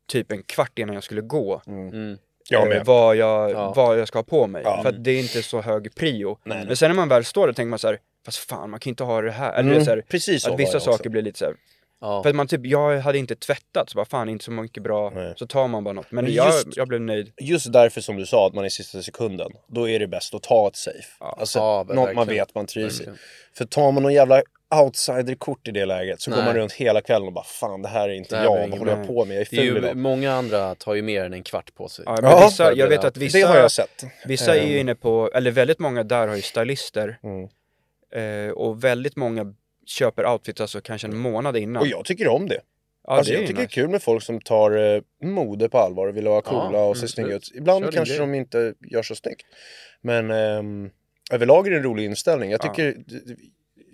S4: typ en kvart innan jag skulle gå
S2: Mm.
S1: Jag
S4: eh,
S1: med.
S4: vad, jag,
S2: Ja.
S4: vad jag ska ha på mig.
S1: Ja.
S4: För att det är inte så hög prio.
S1: nej.
S4: Men sen när man väl står där tänker man så här, fast fan man kan ju inte ha det här. Eller
S1: Mm,
S4: så här,
S1: precis så
S4: att
S1: var
S4: vissa
S1: jag också.
S4: saker blir lite så här,
S2: Ja.
S4: För att man typ, jag hade inte tvättat, så bara fan inte så mycket bra,
S1: Nej.
S4: så tar man bara något. Men,
S1: Men
S4: jag,
S1: just-
S4: jag blev nöjd.
S1: just därför som du sa att man är i sista sekunden, då är det bäst att ta ett safe. alltså
S2: ja,
S1: något man
S2: verkligen.
S1: vet man trivs i.
S2: Verkligen.
S1: För tar man någon jävla outsiderkort i det läget så går
S2: Nej.
S1: man runt hela kvällen och bara fan det här är inte
S2: Det här
S1: jag,
S2: är
S1: vad
S2: ingen-
S1: håller jag på med, jag är
S2: Det är
S1: ful
S2: ju,
S1: idag.
S2: många andra tar ju mer än en kvart på sig.
S4: Ja,
S2: Ja,
S4: men
S1: Ja.
S4: vissa, jag vet att vissa,
S1: Det har jag sett.
S4: vissa är ju inne på, eller väldigt många där har ju stylister.
S1: Ehm. Mm.
S4: Eh, och väldigt många köper outfits alltså kanske en månad innan.
S1: Och jag tycker om det.
S4: ja,
S1: alltså,
S4: det är
S1: jag
S4: ju
S1: tycker det är
S4: nice.
S1: kul med folk som tar eh, mode på allvar och vill vara coola och se
S2: mm,
S1: snygga
S2: absolut.
S1: ut. Ibland
S2: Kör din
S1: kanske
S2: grej.
S1: de inte gör så snyggt. Men ehm, överlag är det en rolig inställning. Jag
S4: Ja.
S1: tycker, d- d-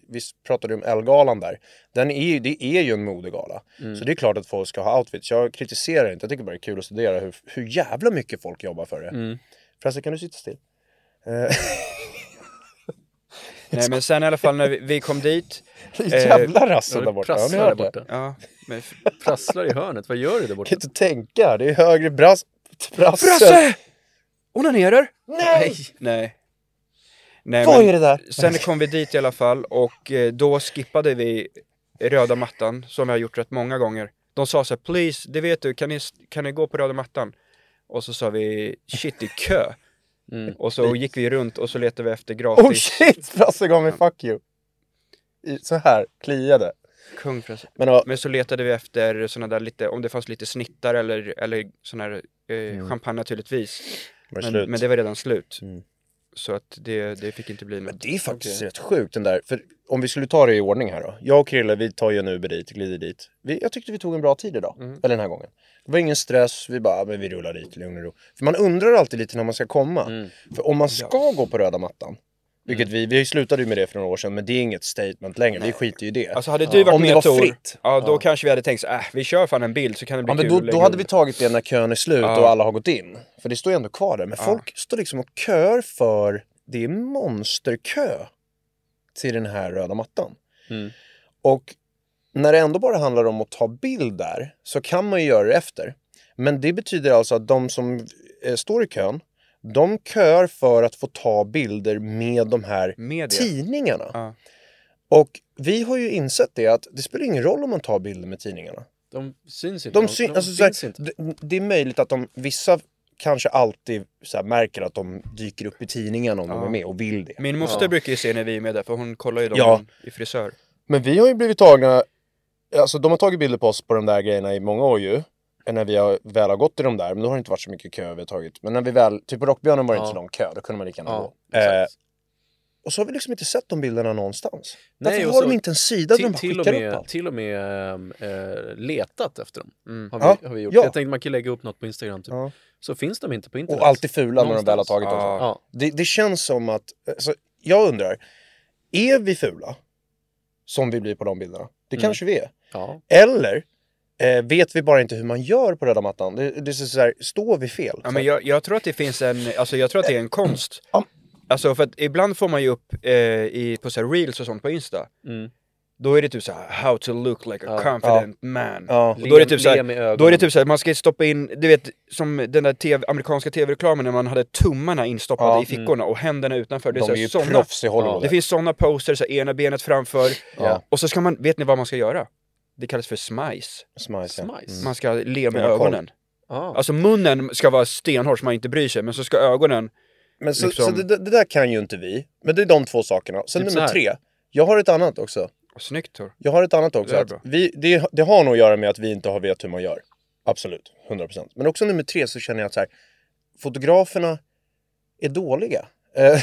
S1: vi pratade ju om Elgalan där. Den är ju, det är ju en modegala. Så det är klart att folk ska ha outfits. Jag kritiserar inte, jag tycker bara det är kul att studera hur, hur jävla mycket folk jobbar för det.
S2: Mm.
S1: Förresten, kan du sitta still?
S4: Nej men sen i alla fall när vi, vi kom dit,
S1: Jävlar alltså där
S2: det
S1: borta. Ja, ni
S2: prasslar där
S1: hörde.
S2: borta.
S4: ja, men, f-
S2: Prasslar i hörnet, vad gör du där
S1: Jag
S2: borta?
S1: kan inte tänka, det är högre brass... Brasse!
S4: Brasse! Onanerar?
S1: Nej!
S4: Nej. Nej
S1: Vad
S4: men-
S1: är det där?
S4: Sen kom vi dit i alla fall och eh, då skippade vi röda mattan som vi har gjort rätt många gånger. De sa så här, please, det vet du, kan ni, kan ni gå på röda mattan? Och så sa vi, shit det är kö.
S1: Mm.
S4: Och så gick vi runt och så letade vi efter gratis
S1: Oh shit! Frasse gav mig fuck you. I- Så här, kliade.
S4: kung. för att-
S1: Men det var,
S4: Men så letade vi efter sådana där lite, om det fanns lite snittar eller, eller sån här eh, champagne naturligtvis.
S1: Mm. var det slut? Mm.
S4: Men, men det var redan slut. Så att det, det fick inte bli
S1: Men
S4: något.
S1: det är faktiskt rätt sjukt den där. För om vi skulle ta det i ordning här då. Jag och Krille, vi tar ju en Uber dit, glider dit. Vi, jag tyckte vi tog en bra tid idag. Eller den här gången. Det var ingen stress, vi bara, "Ah, men vi rullar dit, lugn och ro. För man undrar alltid lite när man ska komma. För om man ska gå på röda mattan. Vilket vi, vi slutade ju med det för några år sedan, men det är inget statement längre. Vi skiter ju i det.
S4: Alltså hade du varit
S1: om
S4: med
S1: det var
S4: Tor,
S1: fritt.
S4: Ja, då kanske vi hade tänkt så äh, vi kör fan en bild så kan det bli
S1: Ja, men
S4: kul.
S1: då,
S4: och lägga
S1: då hade
S4: upp
S1: vi
S4: det."
S1: tagit det när kön är slut och alla har gått in. För det står ju ändå kvar där. Men folk står liksom och kör för, det är monsterkö till den här röda mattan.
S4: Mm.
S1: Och när det ändå bara handlar om att ta bild där så kan man ju göra det efter. Men det betyder alltså att de som eh, står i kön, de kör för att få ta bilder med de här
S4: Med det.
S1: tidningarna.
S4: Ja.
S1: Och vi har ju insett det att det spelar ingen roll om man tar bilder med tidningarna.
S2: De syns inte.
S1: De syn, alltså, så
S2: finns
S1: här,
S2: inte.
S1: d- Det är möjligt att de, vissa kanske alltid så här, märker att de dyker upp i tidningen om de är med och vill det.
S4: Min moster brukar ju se när vi är med där, för hon kollar ju dem
S1: Ja.
S4: i frisör.
S1: Men vi har ju blivit tagna, alltså de har tagit bilder på oss på de där grejerna i många år ju. När vi har, väl har gått i de där, men då har det inte varit så mycket kö vi har tagit. Men när vi väl, typ på Rockbjörnen var det inte
S2: Ja.
S1: så lång kö, då kunde man lika gärna
S2: Ja,
S1: gå. Eh,
S2: exakt.
S1: och så har vi liksom inte sett de bilderna någonstans.
S2: Nej,
S1: Varför
S2: och
S1: har
S2: så-
S1: de inte en sida där de
S2: till,
S1: bara
S2: till, och
S1: skickar upp
S2: med,
S1: allt?
S2: till och med ehm, eh, letat efter dem. Mm, Har, vi,
S1: Ja.
S2: har vi gjort.
S1: Ja.
S2: Jag tänkte man kan lägga upp något på Instagram typ.
S1: Ja.
S2: Så finns de inte på internet.
S1: Och alltid fula när de väl har
S2: Någonstans.
S1: tagit dem.
S4: Ja.
S2: Ja.
S1: Det, det känns som att, alltså, jag undrar, är vi fula? Som vi blir på de bilderna.
S4: Mm.
S1: Det kanske vi är.
S2: ja.
S1: Eller eh, vet vi bara inte hur man gör på röda mattan? Det, det är så här, står vi fel?
S4: Ja, men jag, jag tror att det finns en, alltså jag tror att det är en konst. Alltså för att ibland får man ju upp eh, i, på så här reels och sånt på Insta.
S2: Mm.
S4: Då är det typ så här, how to look like a confident man.
S1: Ja.
S4: Och då är det typ så
S2: Le med
S4: här,
S2: ögonen.
S4: då är det typ så här, man ska stoppa in, du vet som den där TV, amerikanska tv-reklamen när man hade tummarna instoppade
S1: Ja.
S4: i fickorna och händerna utanför. Det är,
S1: de
S4: så
S1: är
S4: här,
S1: ju
S4: såna-
S1: proffs i Hollywood.
S4: Det finns såna poster, så här, ena benet framför.
S1: Ja.
S4: Och så ska man, vet ni vad man ska göra? Det kallas för smice.
S1: Smice, ja.
S2: Smajs.
S4: Man ska le
S1: Ja,
S4: med
S1: koll.
S4: ögonen.
S2: Ja.
S4: Alltså munnen ska vara stenhård så man inte bryr sig, men så ska ögonen...
S1: Men så,
S4: Liksom-
S1: så det, det där kan ju inte vi. Men det är de två sakerna. Sen
S2: Typ så
S1: nummer
S2: här.
S1: tre. Jag har ett annat också.
S4: Oh, snyggt Tor.
S1: Jag har ett annat också.
S4: Det är
S1: att
S4: bra.
S1: vi, det, det har nog att göra med att vi inte har vet hur man gör. Absolut, 100%. Men också nummer tre så känner jag att så här, fotograferna är dåliga. Eh,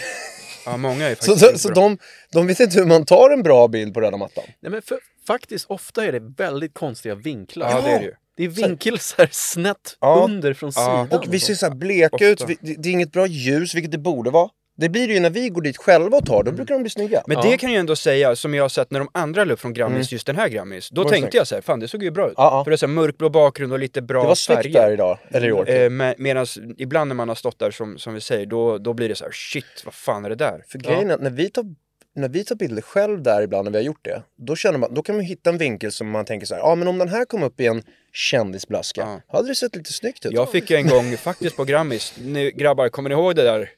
S4: Ja, många
S1: Så,
S4: är faktiskt
S1: så,
S4: inte
S1: så
S4: bra.
S1: de, de vet inte hur man tar en bra bild på röda mattan.
S2: Nej, men för, faktiskt, ofta är det väldigt konstiga vinklar.
S4: Ja, det är det ju.
S2: Det är vinkel så här snett
S1: Ja.
S2: under från
S4: Ja.
S2: sidan.
S1: Och vi ser så här bleka ut, vi, det, det är inget bra ljus, vilket det borde vara. Det blir det ju när vi går dit själva och tar, då brukar de bli snygga.
S4: Mm. Men
S2: Ja.
S4: det kan jag ändå säga, som jag har sett när de andra la upp från Grammis,
S1: Mm.
S4: just den här Grammis, då
S1: Var det snyggt?
S4: tänkte jag så här, fan det såg ju bra ut.
S1: Ja, ja.
S4: För det är så här mörkblå bakgrund och lite bra
S1: det var snyggt där idag, eller i år. typ.
S4: Eh, med, Medan ibland när man har stått där som, som vi säger, då, då blir det så här, shit vad fan är det där?
S1: För grejen är att när vi, tar, när vi tar bilder själv där ibland när vi har gjort det, då, känner man, då kan man hitta en vinkel som man tänker så här, ja ah, men om den här kom upp i en kändisblaska, hade det sett lite snyggt ut.
S4: Jag fick ju en gång faktiskt på Grammis, nu grabbar, kommer ni ihåg det där?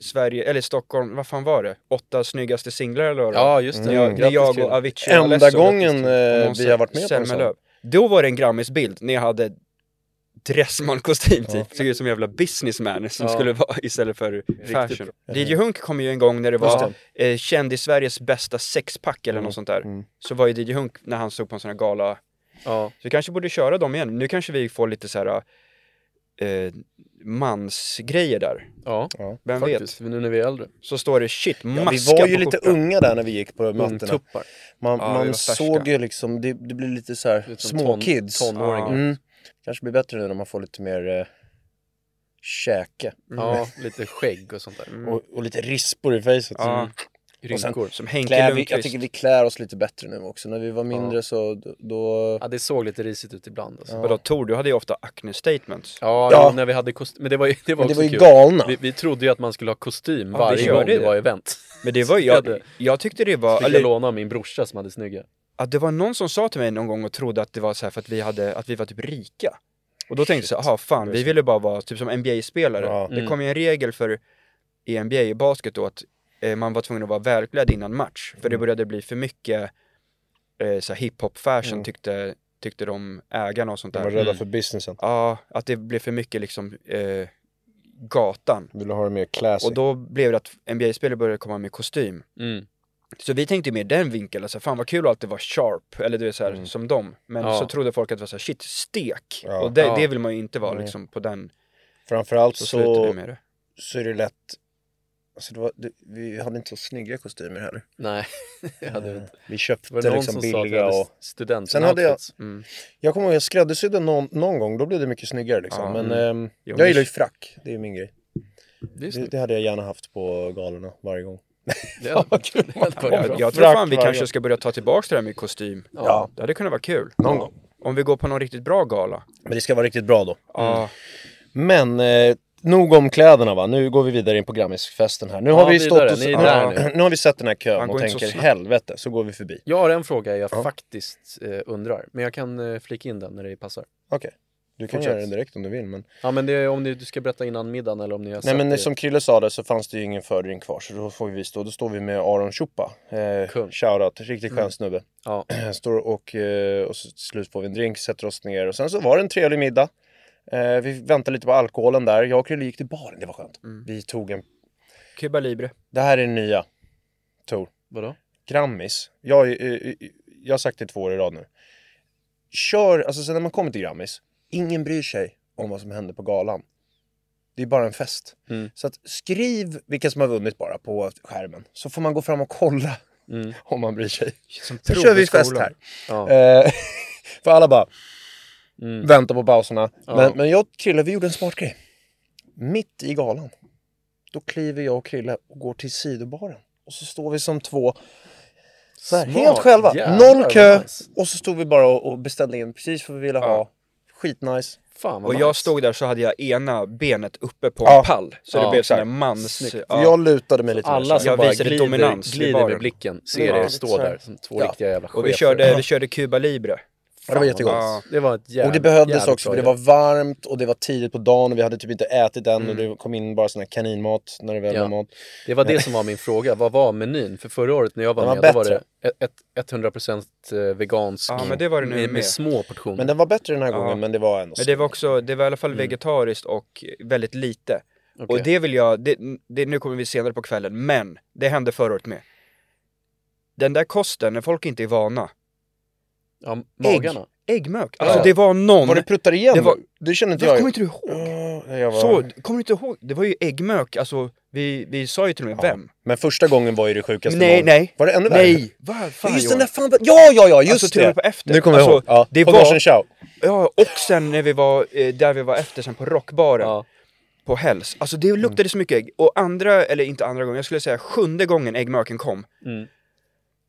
S4: Sverige, eller Stockholm, vad fan var det? Åtta snyggaste singlar eller vad det var?
S2: Ja, just det.
S4: När jag, när jag
S2: Grattis,
S4: och
S2: Krille.
S4: Avicii
S1: Enda
S4: och Alesso,
S1: gången,
S4: grattis till-
S1: eh,
S4: och Måns
S1: vi har varit med på en sån.
S4: Zelmerlöw. Då var det en Grammis-bild när jag hade Dressman-kostym typ, såg ut som en jävla businessman som skulle vara istället för fashion. DJ Hunk kom ju en gång när det var eh, kändis-Sveriges bästa sexpack
S2: Mm.
S4: eller något sånt där. Så var ju DJ Hunk när han såg på en sån här gala.
S2: Ja.
S4: Så vi kanske borde köra dem igen. Nu kanske vi får lite så här eh, mansgrejer där.
S2: Ja,
S4: Vem
S2: faktiskt. Nu när vi är äldre.
S4: vet? Så står det shit,
S1: Ja,
S4: maska
S1: vi var ju
S4: på
S1: lite
S4: skjortan.
S1: unga där när vi gick på mötena.
S2: Ungtuppar.
S1: Man,
S4: Ja, vi var
S1: man
S4: färska.
S1: såg ju liksom, det, det blir lite så här
S2: Lite som ton-
S1: småkids.
S2: tonåringar.
S1: Mm. Kanske blir bättre nu när man får lite mer eh, käke.
S4: Mm.
S2: Ja, lite skägg och sånt där. Mm.
S1: Och, och lite rispor i facet. Mm.
S4: Ja,
S2: Rynkor.
S4: som Henke
S1: Klär, vi, jag
S4: Lundqvist.
S1: tycker vi klär oss lite bättre nu också. När vi var mindre så d- då...
S2: Ja, det såg lite risigt ut ibland. Alltså.
S4: Vadå Tor, du hade ju ofta acne statements.
S2: Ja,
S1: Ja.
S2: jo, när vi hade kostym. Men det var ju, det var
S1: Men det
S2: också
S1: var ju
S2: kul.
S1: galna.
S2: Vi, vi trodde ju att man skulle ha kostym
S4: Ja, vi
S2: varje
S4: körde
S2: gång det
S4: det.
S2: var event.
S4: Men det var ju, jag, jag tyckte det var,
S2: Fick jag
S4: eller,
S2: låna av min brorsa som hade snygga.
S4: att det var någon som sa till mig någon gång och trodde att det var så här för att vi hade, att vi var typ rika. Och då tänkte jag så här, aha fan, vi ville bara vara typ som NBA-spelare.
S1: Ja.
S4: Det kom ju en regel för i NBA i basket då att eh, man var tvungen att vara
S1: Mm.
S4: välklädd innan match. För det började bli för mycket eh, så här hiphop-fashion tyckte, tyckte de ägarna och sånt
S1: Mm. De
S4: där. Mm.
S1: var rädda för businessen.
S4: Ja, att det blev för mycket liksom eh, gatan.
S1: Ville ha det mer classy.
S4: Och då blev det att NBA-spelare började komma med kostym.
S2: Mm.
S4: Så vi tänkte mer den vinkeln, alltså, fan vad kul att det var sharp, eller du är såhär som dem. Men
S2: Ja.
S4: så trodde folk att det var såhär, shit, stek!
S1: Mm. Ja.
S4: Och det,
S2: Ja.
S4: det vill man ju inte vara
S1: Nej.
S4: liksom på den,
S1: Framförallt
S4: så,
S1: så,
S4: slutade vi
S1: så,
S4: med det.
S1: är det lätt... Alltså det var, det, vi hade inte så snygga kostymer heller.
S2: Nej, jag hade
S1: Eh,
S2: inte.
S1: Vi
S2: Var
S1: köpte
S2: det någon
S1: liksom
S2: som sa att
S1: billiga
S2: jag
S1: och...
S2: hade student
S1: Sen hade jag-
S4: Mm.
S1: Jag kommer ihåg jag skräddarsydde någon, någon gång, då blev det mycket snyggare liksom.
S4: Ja,
S1: men
S4: mm.
S1: ehm,
S4: Jo,
S1: jag
S4: men-
S1: gillar ju frack, det är min grej.
S2: Det är
S1: Det,
S2: snyggt.
S1: det hade jag gärna haft på galorna varje gång.
S2: Det hade varit kul.
S4: Jag, jag tror
S1: Frack
S4: fan vi
S1: varje
S4: kanske
S1: gång.
S4: ska börja ta tillbaka det här med kostym.
S2: Ja.
S4: Det hade kunnat vara kul.
S1: Någon gång.
S4: Om vi går på någon riktigt bra gala.
S1: Men det ska vara riktigt bra då.
S4: Ja.
S1: Men eh, nog om kläderna va, nu går vi vidare in på Grammisfesten här. Nu
S2: Ja,
S1: har vi
S2: vidare.
S1: stått och...
S2: Ni är
S1: ja,
S2: där
S1: nu har vi sett den här kön
S4: Man
S1: och
S4: går inte så
S1: tänker
S4: snabbt.
S1: helvete, så går vi förbi.
S2: Jag har en fråga jag
S1: Ja.
S2: faktiskt eh, undrar, men jag kan eh, flika in den när det passar.
S1: Okej. Du kan
S2: Fortsätt.
S1: göra den direkt om du vill men...
S2: Ja men det är om ni, du ska berätta innan middagen eller om ni har
S1: Nej
S2: sett
S1: men
S2: det.
S1: som Krille sa där så fanns det ju ingen fördrink kvar så då får vi stå, då står vi med Aron Chupa. Eh,
S2: Kung.
S1: Shoutout, riktigt skön snubbe.
S2: Ja.
S1: Står och, eh, och så till slut får vi en drink, sätter oss ner och sen så var det en trevlig middag. Eh, vi väntade lite på alkoholen där, jag och Krille gick till baren, det var skönt. Vi tog en,
S4: Cuba Libre.
S1: det här är den nya, Tor.
S2: Vadå?
S1: Grammis, jag, eh, eh, jag har sagt det två år i rad nu. Kör, alltså sen när man kommer till Grammis, ingen bryr sig om vad som hände på galan. Det är bara en fest.
S2: Mm.
S1: Så att skriv vilka som har vunnit bara på skärmen, så får man gå fram och kolla
S2: Mm.
S1: om man bryr sig.
S4: Som
S1: Nu
S4: prov
S1: kör
S4: i
S1: vi fest
S4: skolan.
S1: här.
S2: Ja.
S1: Eh, för alla bara
S2: Mm.
S1: väntar på pauserna.
S2: Ja.
S1: Men, men jag och Krille, vi gjorde en smart grej. Mitt i galan, då kliver jag och Krille och går till sidobaren. Och så står vi som två så här,
S2: Smart.
S1: helt själva.
S2: Jävlar,
S1: Noll
S2: vad
S1: kö.
S2: nice.
S1: Och så stod vi bara och, och beställde in precis vad vi ville ha. Skitnice.
S2: Fan vad
S4: Och
S2: nice.
S4: jag stod där så hade jag ena benet uppe på
S1: Ja.
S4: en pall. Så
S2: Ja,
S4: det blev
S1: exakt.
S4: sån där mans...
S1: För Jag lutade mig lite
S2: Alla som
S4: Jag
S2: bara
S4: visade
S2: glider,
S4: dominans vid
S2: glider med
S4: baren.
S2: blicken ser
S1: Ja.
S2: er stå där som två
S1: Ja.
S2: riktiga jävla chefer.
S4: Och vi körde, vi körde Cuba Libre.
S1: Ja, det var jättegott.
S4: Ja.
S2: Det var ett jävla,
S1: Och det behövdes
S2: jävla
S1: också
S2: bra
S1: för det
S2: jobb.
S1: var varmt och det var tidigt på dagen och vi hade typ inte ätit än
S4: Mm.
S1: och det kom in bara sån här kaninmat när det väl
S2: Ja.
S1: var mat.
S2: Det var det som var min fråga, vad var menyn? För förra året när jag var,
S1: Den var
S2: med, då var
S1: bättre.
S2: det ett- ett- 100% vegansk
S4: Ja, men det var det nu
S2: med,
S4: med.
S2: med små portioner.
S1: Men den var bättre den här gången
S4: Ja.
S1: men det var ändå
S4: Men det var också, det var i alla
S1: Mm.
S4: fall vegetariskt och väldigt lite.
S2: Okej.
S4: Och det vill jag, det, det, nu kommer vi senare på kvällen, men det hände förra året med. Den där kosten, när folk inte är vana.
S2: ja, magarna.
S4: Äggmök. Alltså
S1: Ja.
S4: det var någon...
S1: Var det pruttar igen? Det,
S4: Det var-
S1: det kände inte
S4: Varför
S1: jag.
S4: kommer inte du ihåg?
S1: Ja, jag var...
S4: Så, kommer du inte ihåg? Det var ju äggmök, alltså vi, vi sa ju till och med vem.
S1: Men första gången var ju det sjukaste
S4: Nej,
S1: någon-
S4: nej.
S1: Var det ännu värre?
S4: Nej! Vad fan
S1: just den
S4: Johan?
S1: där fan... Ja, ja, ja, just
S4: Alltså, till och
S1: det!
S4: med på efter.
S1: Nu kommer jag
S4: Alltså,
S1: ihåg. Ja,
S4: det
S1: på
S4: var-
S1: Norsen Chow.
S4: Ja, och sen när vi var, eh, där vi var efter sen på rockbaren.
S2: Ja.
S4: På Hells. Alltså det luktade så mycket ägg. Och andra, eller inte andra gången, jag skulle säga sjunde gången äggmöken kom.
S2: Mm.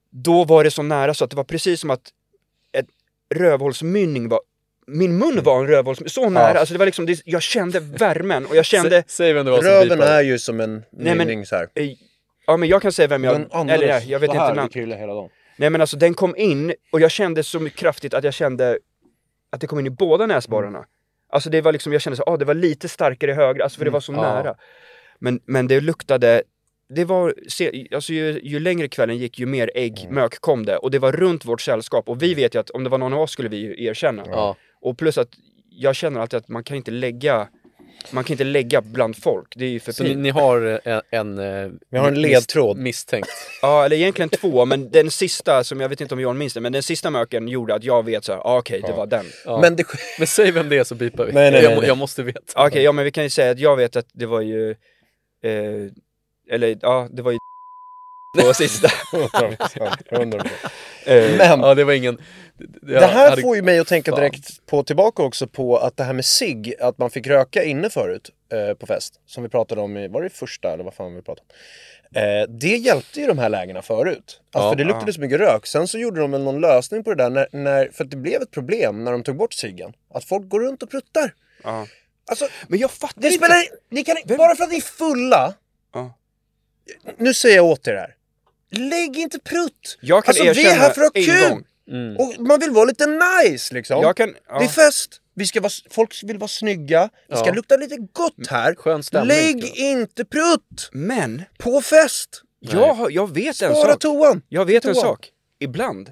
S4: Då var det så nära så att det var precis som att ett rövhålsmynning var min mun var en rövhålsmynning, så nära, alltså det var liksom, det, jag kände värmen och jag kände,
S2: Sä- Säg vem det var som
S1: Röven
S2: beepade.
S1: är ju som en
S4: men-
S1: mynning så här.
S4: eh, ja men jag kan säga vem jag,
S1: Den andades
S4: eller nej, jag vet
S1: så
S4: inte
S1: här
S4: namn.
S1: och krillade hela dagen.
S4: Nej men alltså den kom in och jag kände så mycket kraftigt att jag kände att det kom in i båda näsborrarna. Alltså det var liksom, jag kände så, ah, det var lite starkare höger, alltså för det var så
S2: Mm, Ja.
S4: nära. Men, men det luktade, det var, se, alltså ju, ju längre kvällen gick ju mer
S2: Mm.
S4: äggmök kom det och det var runt vårt sällskap och vi vet ju att om det var någon av oss skulle vi ju erkänna.
S2: Ja.
S4: Och plus att jag känner alltid att man kan inte lägga, man kan inte lägga bland folk, det är ju för
S2: Så ni,
S4: pinsamt.
S2: ni har eh, en... eh,
S1: Vi har en
S2: mis-
S1: ledtråd.
S2: Misstänkt.
S4: Ja, eller egentligen två, men den sista som jag vet inte om Johan minns det, men den sista möken gjorde att jag vet så här, ah, okej, det var den.
S2: Ja.
S1: Men det...
S2: Men säg vem det är så beepar vi.
S1: Nej, nej,
S2: jag,
S1: nej,
S2: må-
S1: nej.
S2: jag måste veta.
S4: Ah, Okej, ja men vi kan ju säga att jag vet att det var ju, eh, eller ja, det var ju på sista. Eh,
S1: Men
S2: Ja, det var ingen... jag
S1: det här
S2: hade-
S1: får ju mig att tänka
S2: Fan.
S1: direkt på, tillbaka också på att det här med sig att man fick röka inne förut eh, på fest, som vi pratade om i, var det första eller vad fan vi pratade om? Eh, det hjälpte ju de här lägena förut, alltså,
S2: Ja.
S1: för det luktade så mycket rök. Sen så gjorde de väl någon lösning på det där, när, när, för att det blev ett problem när de tog bort ciggen. Att folk går runt och pruttar.
S4: ja.
S1: Alltså,
S4: Men jag fattar
S1: det spelar ni kan, bara för att ni är fulla,
S4: Ja.
S1: nu säger jag åt er här, lägg inte prutt!
S4: Jag kan
S1: Alltså vi
S4: erkänna
S1: är här för att ha
S4: en
S1: kul!
S4: gång.
S2: Mm.
S1: Och man vill vara lite nice liksom.
S4: Jag kan, ja.
S1: Det är fest! Vi ska vara, folk vill vara snygga, det ska
S2: Ja.
S1: lukta lite
S4: Mm.
S1: gott här.
S2: Skön stämning.
S1: Lägg
S2: tror jag.
S1: inte prutt
S4: men
S1: på fest!
S4: jag, har- jag vet en
S1: Spara
S4: sak.
S1: toan!
S4: Jag vet en
S1: Toan.
S4: sak. Ibland,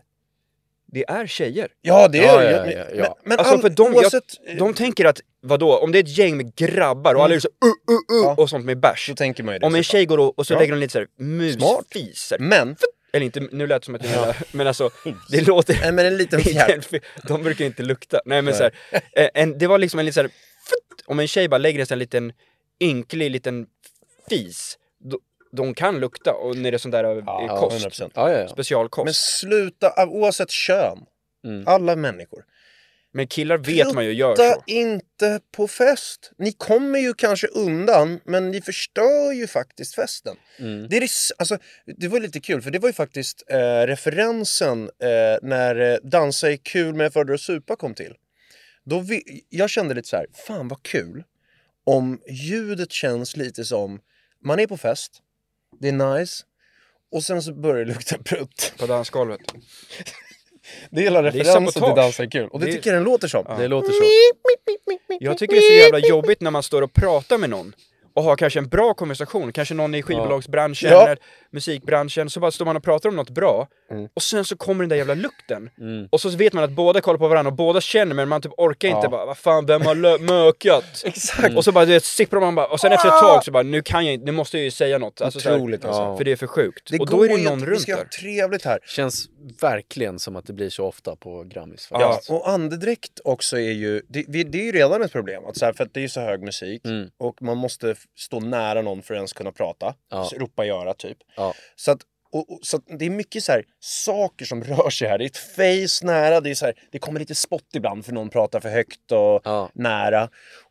S4: det är tjejer.
S1: Ja, det är
S2: Ja,
S1: det.
S2: ja,
S1: Men-
S2: ja, ja.
S1: Men, men
S4: Alltså,
S1: all,
S4: för de- jag-
S1: oavsett, eh,
S4: De tänker att, vadå, om det är ett gäng med grabbar och alla är så uh, uh, uh,
S1: Ja.
S4: och sånt med bärs.
S1: så tänker man ju det.
S4: Om en
S1: såklart.
S4: tjej går och, och så
S1: Ja.
S4: lägger hon lite såhär
S1: Smart.
S4: musfiser.
S1: Men,
S4: Eller inte, nu lät det som att jag menar, men alltså, det låter...
S1: nej, men en liten
S4: Inte
S1: fjärr.
S4: en fi- De brukar inte lukta. Nej men såhär, eh, en, det var liksom en liten såhär, futt, om en tjej bara lägger en sån här liten ynklig liten fis, då, de kan lukta och när det är sån där eh,
S1: Ja,
S4: kost,
S1: 100%.
S2: Ja, ja, ja.
S4: specialkost.
S1: Men
S4: Men,
S1: sluta, av- oavsett kön.
S2: Mm.
S1: Alla människor.
S4: killar vet man ju gör
S1: Prutta
S4: så.
S1: inte på fest. Ni kommer ju kanske undan, men ni förstör ju faktiskt festen. Det, är, det s- alltså, det var lite kul, för det var ju faktiskt eh, referensen eh, när eh, Dansa är kul med föräldrar och supa kom till. Då vi, jag kände lite så här, fan vad kul om ljudet känns lite som, man är på fest, det är nice, och sen så börjar det lukta prutt.
S4: På dansgolvet.
S1: Det är hela
S4: är
S1: referensen till
S4: sabotage.
S1: Dansa är kul. Och det,
S4: Det är-
S1: tycker jag den låter som.
S2: Det låter så.
S4: Jag tycker det är så jävla jobbigt när man står och pratar med någon och har kanske en bra konversation, kanske någon i skivbolagsbranschen
S1: Ja.
S4: eller musikbranschen, så bara står man och pratar om något bra
S1: Mm.
S4: och sen så kommer den där jävla lukten. Och så vet man att båda kollar på varandra och båda känner men man typ orkar inte bara vad fan vem har lö- mökat?
S1: Exakt.
S4: Och så bara du vet, sipprar man bara och sen efter ett tag så bara nu kan jag inte, nu måste jag ju säga något. Alltså, så här,
S1: Otroligt, alltså.
S4: För det är för sjukt.
S1: Det
S4: och då är
S1: går
S4: det
S1: ju
S4: någon
S1: att- Vi
S4: runt
S1: ska ha
S4: där.
S1: trevligt här.
S2: Känns verkligen som att det blir så ofta på Grammis.
S1: Ja,
S2: faktiskt.
S1: och andedräkt också är ju, det, vi- det är ju redan ett problem. Att så här, för att det är ju så hög musik
S2: Mm.
S1: och man måste f- stå nära någon för att ens kunna prata.
S2: Ja.
S1: Så ropa göra typ.
S2: Ja.
S1: Så, att, och, och, så att det är mycket så här, saker som rör sig här. Det är ett face nära, det, är så här, det kommer lite spott ibland för någon pratar för högt och
S2: Ja.
S1: nära.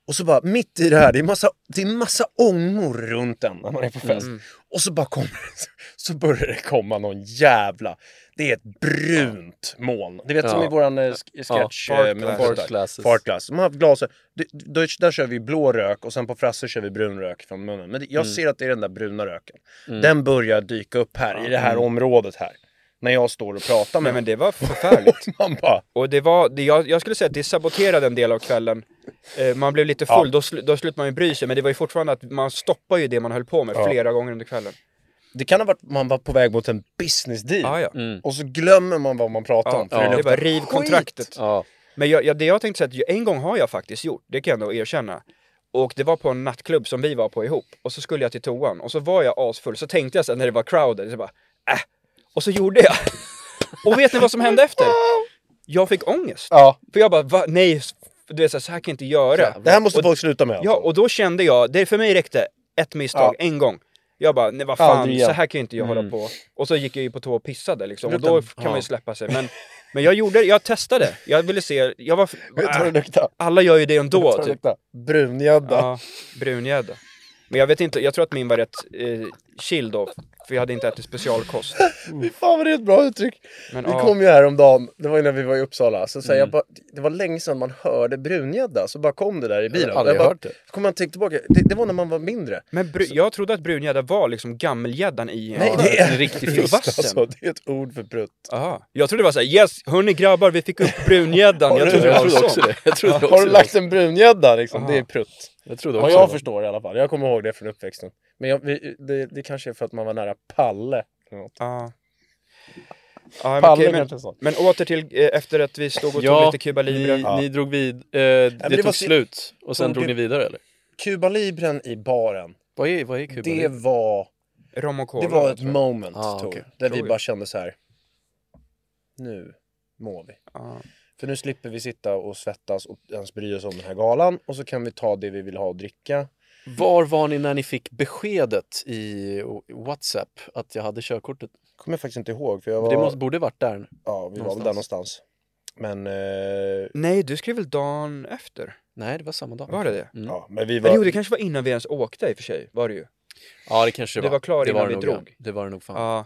S1: Och så bara mitt i det här, det är massa, det är massa ångor runt en när man är på fest.
S2: Mm.
S1: Och så bara kommer så börjar det komma någon jävla, det är ett brunt moln. Det vet som
S2: Ja.
S1: i våran eh, sk- sketch
S2: Ja,
S1: eh, med
S2: fartglasses.
S1: Fartglasses. Fartglass. De har haft glas, d- d- där kör vi blå rök och sen på Frasse kör vi brun rök från munnen. Men det- jag
S2: Mm.
S1: ser att det är den där bruna röken. Den börjar dyka upp här i det
S2: Mm.
S1: här området här. När jag står och pratar
S4: Nej
S1: med
S4: men det var förfärligt.
S1: och man bara,
S4: Och det var, det, jag, jag skulle säga att det saboterade en del av kvällen. Eh, man blev lite full, då, slu, då slutade man ju bry sig, men det var ju fortfarande att man stoppar ju det man höll på med flera gånger under kvällen.
S1: det kan ha varit man var på väg mot en business deal.
S4: Ah, ja.
S1: Och så glömmer man vad man pratar om. För
S4: ja.
S1: det
S4: Det är
S1: luktar
S4: bara riv kontraktet.
S2: Ja.
S4: Men jag, jag, det jag tänkte säga att ju- en gång har jag faktiskt gjort, det kan jag ändå erkänna. Och det var på en nattklubb som vi var på ihop, och så skulle jag till toan, och så var jag asfull, så tänkte jag så här, när det var crowded, så bara äh. Och så gjorde jag. Och vet ni vad som hände efter? Jag fick ångest.
S1: Ja.
S4: För jag bara, va? nej, du vet så här, så här kan jag inte göra.
S1: Det här måste
S4: Och-
S1: folk sluta med.
S4: Ja, och då kände jag, det för mig räckte ett misstag, en gång. Jag bara, nej vad fan,
S1: Aldrig igen. Mm.
S4: så här kan ju inte jag hålla på. Och så gick jag ju på tå och pissade liksom, och
S1: Luktar-
S4: då kan man ju släppa sig. Men, men jag gjorde, jag testade. Jag ville se, jag var...
S1: Vet du vad det luktar?
S4: alla gör ju det ändå, typ.
S1: Typ. Brungödda.
S4: Ja, brungädda. Men jag vet inte, jag tror att min var rätt eh, chill då, för jag hade inte ätit specialkost.
S1: Fy fan vad det är ett bra uttryck.
S4: Men,
S1: vi
S4: ja. Mm.
S1: kom ju häromdagen, det var ju när vi var i Uppsala, så, så här, jag bara, det var länge sedan man hörde brungädda, så bara kom det där i bilen.
S2: Jag har aldrig
S1: bara,
S2: hört det.
S1: Så kom man tänka tillbaka, det, det var när man var mindre.
S4: Men bru, jag trodde att brungädda var liksom gammelgäddan i en...
S1: Nej,
S4: Ja.
S1: det är
S2: en riktig
S1: just,
S4: vassen.
S1: alltså, det är ett ord för prutt.
S4: Aha. Jag trodde det var såhär, yes, hörni grabbar, vi fick upp brungäddan. Jag trodde det var
S2: trodde
S4: så.
S2: också det. Jag trodde också
S1: Har du
S2: det.
S1: lagt en brungädda liksom,
S4: Aha.
S1: det är prutt.
S2: Jag trodde också
S1: Vad jag
S2: det.
S1: förstår i alla fall, jag kommer ihåg det från uppväxten. Men jag, vi, det, det kanske är för att man var nära Palle. eller något.
S4: Ja. Ja, men,
S1: Palle
S4: okej, men,
S1: kanske sa.
S4: men åter till eh, efter att vi stod och
S2: Ja,
S4: tog lite Cuba Libre.
S2: Ni, ni drog vid, eh, det,
S1: det
S2: tog
S1: var si-
S2: slut och sen
S1: tog
S2: drog
S1: det-
S2: ni vidare eller?
S1: Cuba Libren i baren,
S2: Vad är, vad är Kuba?
S1: det var...
S4: Rom och cola.
S1: Det var ett
S4: tror jag.
S1: moment,
S2: Ah,
S1: Tor,
S2: okej.
S1: där
S4: Tror
S1: vi
S4: jag.
S1: bara kände så här. Nu mår vi.
S4: Ja.
S1: För nu slipper vi sitta och svettas och ens bry oss om den här galan och så kan vi ta det vi vill ha och dricka.
S2: Var var ni när ni fick beskedet i Whatsapp att jag hade körkortet?
S1: Kommer jag faktiskt inte ihåg för jag var...
S2: Det måste, borde varit där.
S1: Ja, vi var väl där någonstans. Men... Eh,
S4: Nej, du skrev väl dagen efter?
S2: Nej, det var samma dag.
S4: Var det det?
S2: Mm.
S1: ja, men vi var...
S4: Eller jo, det kanske var innan vi ens åkte i och för sig, var det ju.
S2: Ja, det kanske det
S4: Du
S2: var.
S4: var klar
S2: det
S4: innan
S2: var det
S4: vi
S2: nog,
S4: drog.
S2: ja. Det var det nog fan.
S4: Ja.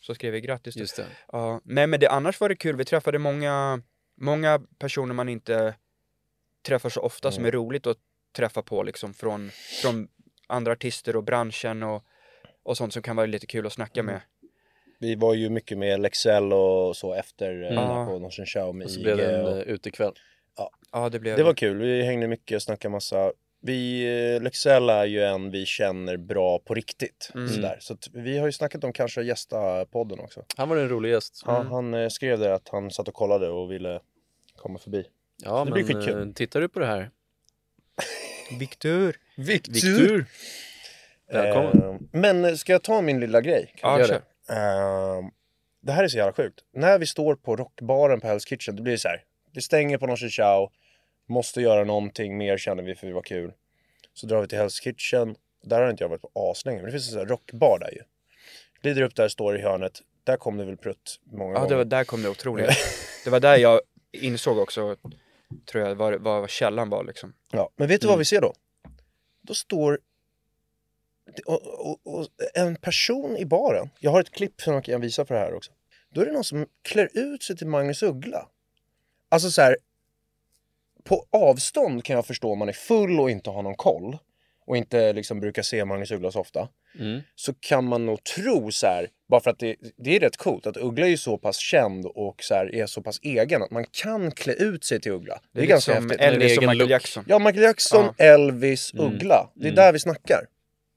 S4: Så skrev vi grattis. då.
S2: Just det.
S4: Ja. Nej, men det, annars var det kul. Vi träffade många, många personer man inte träffar så ofta som är roligt att träffa på liksom från, från andra artister och branschen och, och sånt som kan vara lite kul att snacka med.
S1: Vi var ju mycket med Lexell och så efter eh,
S4: Mm.
S1: på Norsen Show med
S2: Och så
S1: IG
S2: blev det en
S1: och...
S2: eh, utekväll.
S4: Ja, det blev
S1: Det var kul, vi hängde mycket, snackade massa, Vi, eh, Lexell är ju en vi känner bra på riktigt. Sådär. Så att vi har ju snackat om kanske att gästa podden också.
S2: Han var en rolig gäst. Mm.
S1: Ja, han eh, skrev det att han satt och kollade och ville komma förbi.
S2: Ja,
S1: Det blir
S2: men
S1: skitkul.
S2: eh, tittar du på det här?
S4: Viktor!
S1: Viktor!
S2: Välkommen.
S1: Eh, men eh, ska jag ta min lilla grej? Kan
S4: Ja,
S1: vi göra
S4: kör.
S1: det? Eh, det här är så jävla sjukt. När vi står på rockbaren på Hell's Kitchen, det blir så här. Det stänger på någon chichao, måste göra någonting mer känner vi för det var kul. Så drar vi till Hell's Kitchen, där har inte jag varit på aslänge, men det finns en sån här rockbar där ju. Glider upp där, står i hörnet, där kom det väl prutt många
S4: Ja,
S1: gånger.
S4: det var, där kom det otroliga. Det var där jag insåg också, tror jag, vad, vad, vad källan var liksom.
S1: Ja, men vet du vad vi ser då? Då står och, och, och, en person i baren. Jag har ett klipp som jag kan visa för det här också. Då är det någon som klär ut sig till Magnus Uggla. Alltså så här. På avstånd kan jag förstå om man är full och inte har någon koll och inte liksom brukar se Magnus Uggla så ofta. Så kan man nog tro så här, bara för att det, det är rätt coolt att Uggla är ju så pass känd och så här, är så pass egen att man kan klä ut sig till Uggla. Det är, liksom
S4: lite
S1: ganska
S4: som
S1: häftigt.
S4: Elvis
S2: En
S4: och
S2: egen
S4: Michael
S2: look.
S4: Jackson.
S1: Ja, Michael Jackson, Elvis,
S4: Mm.
S1: Uggla. Det är där vi snackar.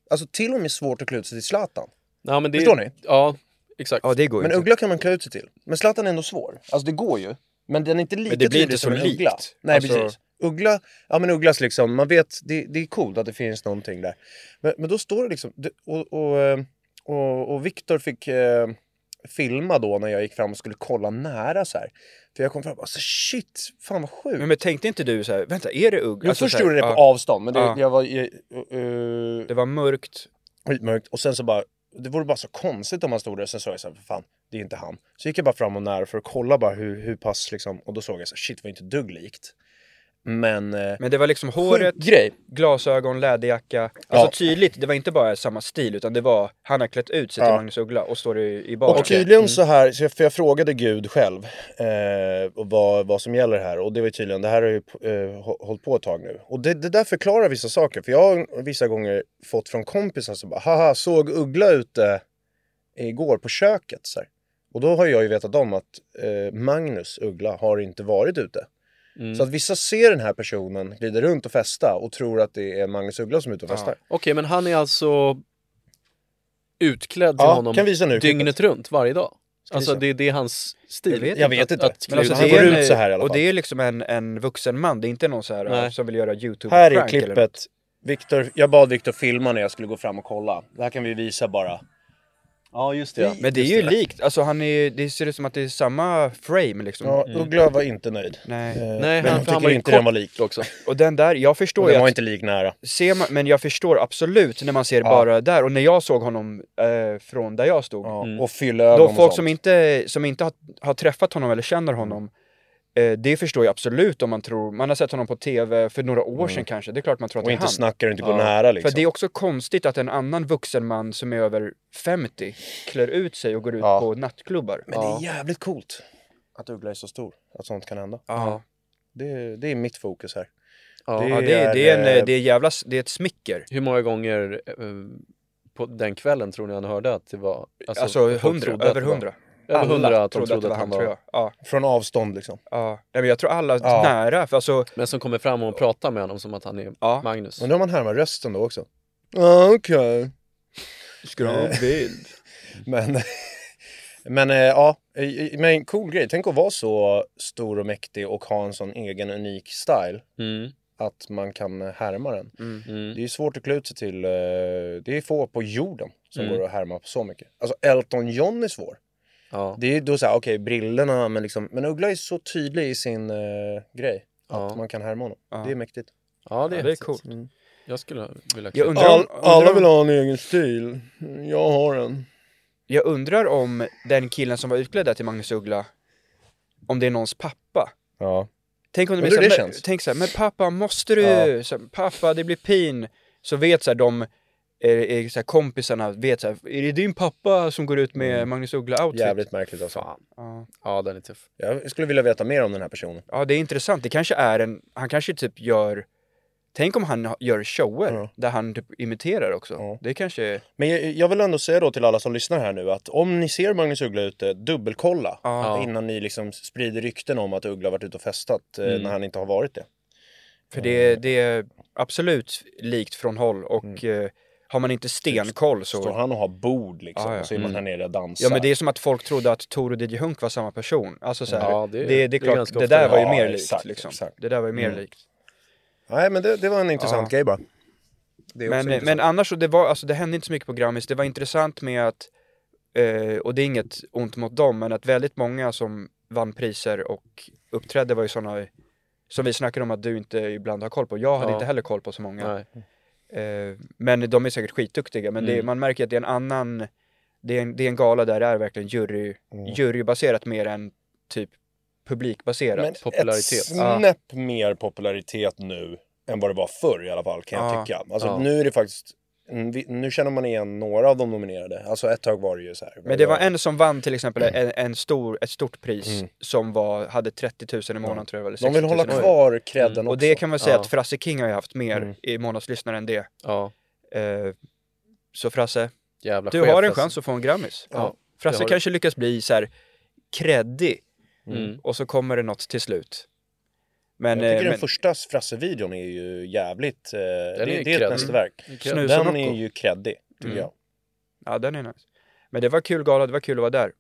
S1: Alltså till och med svårt att klä ut sig till Zlatan.
S2: Ja, men det,
S1: Förstår ni?
S2: Ja, exakt.
S4: Ja, det går ju
S1: Men
S4: inte.
S1: Uggla kan man klä ut sig till. Men Zlatan är ändå svår. Alltså det går ju. Men den är inte lika
S4: det blir
S1: tydlig
S4: inte
S1: som
S4: så
S1: en Uggla.
S4: likt.
S1: Nej,
S4: Alltså-
S1: precis. Uggla, ja men Ugglas liksom, man vet, det, det är coolt att det finns någonting där. Men, men då står det liksom, det- och, och, eh, och, och Viktor fick eh, filma då när jag gick fram och skulle kolla nära så här. För jag kom fram och bara, alltså, shit, fan vad sjukt.
S4: Men, men tänkte inte du så här, vänta, är det Uggla?
S1: Jo,
S4: Alltså,
S1: först
S4: så här,
S1: gjorde jag det på
S4: ja,
S1: avstånd, men det,
S4: Ja.
S1: jag var... eh, eh,
S4: Det var mörkt.
S1: skitmörkt. Och sen så bara, det vore bara så konstigt om han stod där. Sen såg jag så här, för fan, det är inte han. Så gick jag bara fram och nära för att kolla bara hur, hur pass liksom. Och då såg jag så här, shit var inte ett dugg likt. Men, eh,
S4: Men det var liksom håret,
S1: sjuk grej.
S4: glasögon, läderjacka. Alltså tydligt, det var inte bara samma stil utan det var, han har klätt ut sig till
S1: Ja.
S4: Magnus Uggla och står i, Mm. i baren.
S1: Och
S2: mm.
S1: tydligen så här, så jag, för jag frågade Gud själv eh, och vad, vad som gäller här och det var ju tydligen, det här har ju eh, hå- hållit på ett tag nu. Och det, det där förklarar vissa saker, för jag har vissa gånger fått från kompisar som bara haha, såg Uggla ute igår på köket. Så här. Och då har jag ju vetat om att eh, Magnus Uggla har inte varit ute.
S2: Mm.
S1: Så att vissa ser den här personen glida runt och festa och tror att det är Magnus Uggla som är ute och festar.
S2: Okej, men han är alltså utklädd till
S1: Ja,
S2: honom
S1: kan visa nu,
S2: dygnet runt varje dag? Alltså
S1: visa.
S2: det, det är hans stil?
S4: Jag vet
S1: Jag vet inte.
S2: Att, att
S1: Men
S2: klä
S1: alltså,
S2: ut
S1: han
S2: sig.
S1: går
S4: en-
S1: ut så här i alla
S4: Och
S1: fall.
S4: det är liksom en, en vuxen man, det är inte någon så här
S2: Nej.
S4: ja, som vill göra youtube
S1: Här är
S4: prank eller något.
S1: klippet. Victor, jag bad Viktor filma när jag skulle gå fram och kolla. Det här kan vi visa bara. Ja, just det.
S4: Men det är ju likt, alltså han är, det ser ut som att det är samma frame liksom.
S1: Ja, Uggla var inte nöjd.
S4: Nej.
S1: Eh,
S2: Nej,
S1: men
S2: han-
S1: han
S2: han
S1: tycker
S2: var ju
S1: inte den
S2: kort
S1: var lik.
S2: också.
S4: Och den där, jag
S1: Och
S4: förstår ju
S1: den var
S4: att
S1: inte lik nära.
S4: ser man, men jag förstår absolut när man ser bara där och när jag såg honom eh, från där jag stod.
S1: Ja, Och fyllögon
S4: De
S1: och
S4: folk
S1: sånt. Mm.
S4: som inte, som inte har, har träffat honom eller känner honom, eh, det förstår jag absolut om man tror, man har sett honom på tv för några år sedan kanske, det är klart man tror att
S1: Mm. Och
S4: det är
S1: inte
S4: han.
S1: snackar och inte går
S4: Ja.
S1: nära liksom.
S4: För det är också konstigt att en annan vuxen man som är över 50 klär ut sig och går ut
S1: Ja.
S4: på nattklubbar.
S1: Men det är jävligt coolt. Att Uggla är så stor. Att sånt kan hända.
S4: Ja.
S1: Det, det är mitt fokus här.
S2: Ja.
S4: Ja, det, är, det, är en,
S1: eh,
S4: eh, det är jävla, det är ett smicker.
S2: Hur många gånger eh, på den kvällen tror ni han hörde att det var...
S4: Alltså
S2: folk
S4: 100,
S2: trodde att
S4: över
S2: det var-
S4: 100.
S2: Över
S4: Alla
S2: 100 att de trodde
S4: det
S2: att han var...
S4: tror jag. Ja,
S1: Från avstånd liksom.
S4: ja. Nej, men jag tror alla
S1: Ja.
S4: nära, för alltså,
S2: Men som kommer fram och pratar med honom som att han är
S4: Ja.
S2: Magnus.
S1: Undrar om man härmar rösten då också. Ja, okej.
S4: Ska du ha en bild?
S1: Men, men eh, ja, eh, men cool grej. Tänk att vara så stor och mäktig och ha en sån egen unik style
S2: Mm.
S1: att man kan härma den.
S2: Mm.
S1: Det är svårt att klä ut sig till, eh, det är få på jorden som går att härma på så mycket. Alltså Elton John är svår.
S2: Ja.
S1: Det är då såhär, okej brillorna men liksom, men Uggla är så tydlig i sin eh, grej. Att
S2: Ja.
S1: man kan härma honom. Det är mäktigt.
S2: ja, det är,
S4: Ja, det är
S2: häftigt.
S4: coolt.
S2: Jag skulle vilja
S4: Jag
S2: klä-
S4: undrar om, undrar om,
S1: ha en egen stil. Jag har en.
S4: jag undrar om den killen som var utklädd där till Magnus Uggla, om det är någons pappa.
S1: Ja.
S4: Tänk om det
S1: Undrar
S4: blir
S1: hur det
S4: såhär, men,
S1: känns?
S4: tänk såhär, men pappa måste du? Så här, pappa det blir pin. Så vet såhär de eh, eh, så här, kompisarna, vet såhär, är det din pappa som går ut med
S2: Mm.
S4: Magnus Uggla-outfit?
S1: Jävligt märkligt alltså.
S2: Fan.
S4: Ja.
S2: Ja, den är tuff.
S1: Jag skulle vilja veta mer om den här personen.
S4: ja, det är intressant. Det kanske är en, han kanske typ gör, tänk om han ha- gör shower
S1: Ja.
S4: där han typ imiterar också. Det kanske är,
S1: Men jag, jag vill ändå säga då till alla som lyssnar här nu att om ni ser Magnus Uggla ute, dubbelkolla
S4: Ja.
S1: innan ni liksom
S4: Mm.
S1: sprider rykten om att Uggla varit ute och festat eh, när han inte har varit det.
S4: för det, det, absolut likt från håll och eh, har man inte stenkoll så...
S1: Står han och har bord liksom
S4: Ja, ja.
S1: och så är man här nere och dansar.
S4: Ja men det är som att folk trodde att Tor och DJ Hunk var samma person. Alltså så här,
S2: Ja,
S4: det,
S2: det-
S4: det,
S2: det
S4: är
S2: är
S4: klart,
S2: ganska
S4: det
S2: ofta.
S4: där var ju
S1: Ja,
S4: mer
S1: exakt,
S4: likt liksom.
S1: exakt.
S4: Det där var ju mer likt.
S1: Nej men det, det var en intressant grej bara. Det är också
S4: Men, men
S1: intressant.
S4: annars så, det var, alltså det hände inte så mycket på Grammis. Det var intressant med att, eh, och det är inget ont mot dem, men att väldigt många som vann priser och uppträdde var ju sådana som vi snackade om att du inte ibland har koll på. Jag hade
S2: Ja.
S4: inte heller koll på så många.
S2: Nej.
S4: Eh, men de är säkert skitduktiga, men det,
S2: Mm.
S4: man märker att det är en annan, det är en, det är en gala där det är verkligen jury,
S1: Mm.
S2: Mm.
S4: jurybaserat mer än typ publikbaserat.
S1: Men
S2: popularitet.
S1: ett snäpp mer popularitet nu än vad det var förr i alla fall kan jag
S4: Ja.
S1: tycka. Alltså
S2: Ja.
S1: nu är det faktiskt, mm, vi- nu känner man igen några av de nominerade. Alltså ett tag var det ju så här.
S4: Men det var en som vann till exempel
S1: Mm.
S4: en, en stor, ett stort pris som var, hade 30 000 i månaden tror jag. Eller 60
S1: De
S4: 000
S1: vill hålla
S4: i månaden.
S1: kvar credden också.
S4: Mm.
S1: Mm.
S4: Och det kan man säga
S2: Ja.
S4: att Frasse King har ju haft mer i månadslyssnare än det.
S2: Ja,
S4: Eh, så Frasse,
S2: jävla
S4: du
S2: chef,
S4: har en
S2: alltså.
S4: chans att få en Grammis.
S2: Ja, det
S4: Frasse
S2: har du.
S4: kanske lyckas bli så här kreddig
S2: Mm.
S4: och så kommer det något till slut. Men,
S1: jag tycker
S4: eh, men
S1: den första Frasse-videon är ju jävligt... Eh, det,
S2: är Mm.
S1: det
S2: ju
S1: är ett
S2: creddig.
S1: mästerverk.
S2: Snus
S4: och
S1: Den
S4: Mm. Rocco.
S1: är ju creddig, tycker jag.
S4: ja, den är nice. Men det var kul gala, det var kul att vara där.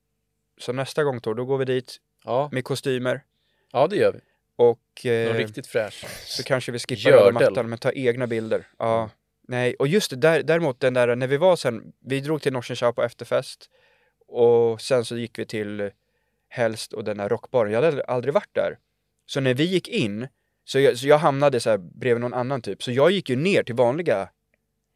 S4: Så nästa gång Tor, då går vi dit
S2: Ja.
S4: med kostymer
S2: ja, det gör vi.
S4: och
S2: Någon
S4: eh,
S2: riktigt fräsch.
S4: så kanske vi skippar
S2: Gördel.
S4: röda mattan men tar egna bilder. Ja. Nej, och just det, där, däremot den där, när vi var sen, vi drog till Norsen Chow på efterfest och sen så gick vi till Hälst och den där rockbaren. Jag hade aldrig varit där. Så när vi gick in, så jag, så jag hamnade så här bredvid någon annan typ, så jag gick ju ner till vanliga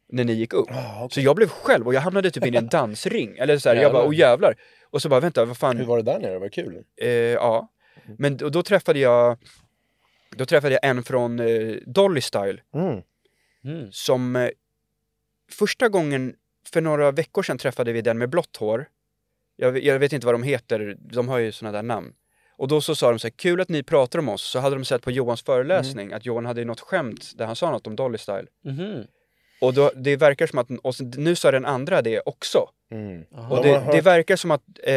S4: när ni gick upp. Så jag blev själv och jag hamnade typ in i en dansring. Eller så här, jag bara,
S2: Jävlar.
S4: åh jävlar. Och så bara, vänta, vad fan,
S1: Hur var det där nere? Det var kul.
S4: Eh, ja.
S1: Mm.
S4: Men då, då träffade jag då träffade jag en från eh, Dolly Style
S1: Mm.
S2: Mm.
S4: som eh, första gången för några veckor sedan träffade vi den med blått hår. Jag, ve- jag vet inte vad de heter, de har ju sådana där namn. Och då så sa de så här, kul att ni pratar om oss. Så hade de sett på Johans föreläsning
S1: Mm.
S4: att Johan hade ju något skämt där han sa något om Dolly Style.
S2: Mhm.
S4: Och då, det verkar som att, och sen- nu sa den andra det också.
S1: Mm.
S4: Och
S1: De har
S4: det,
S1: hört-
S4: det verkar som att eh,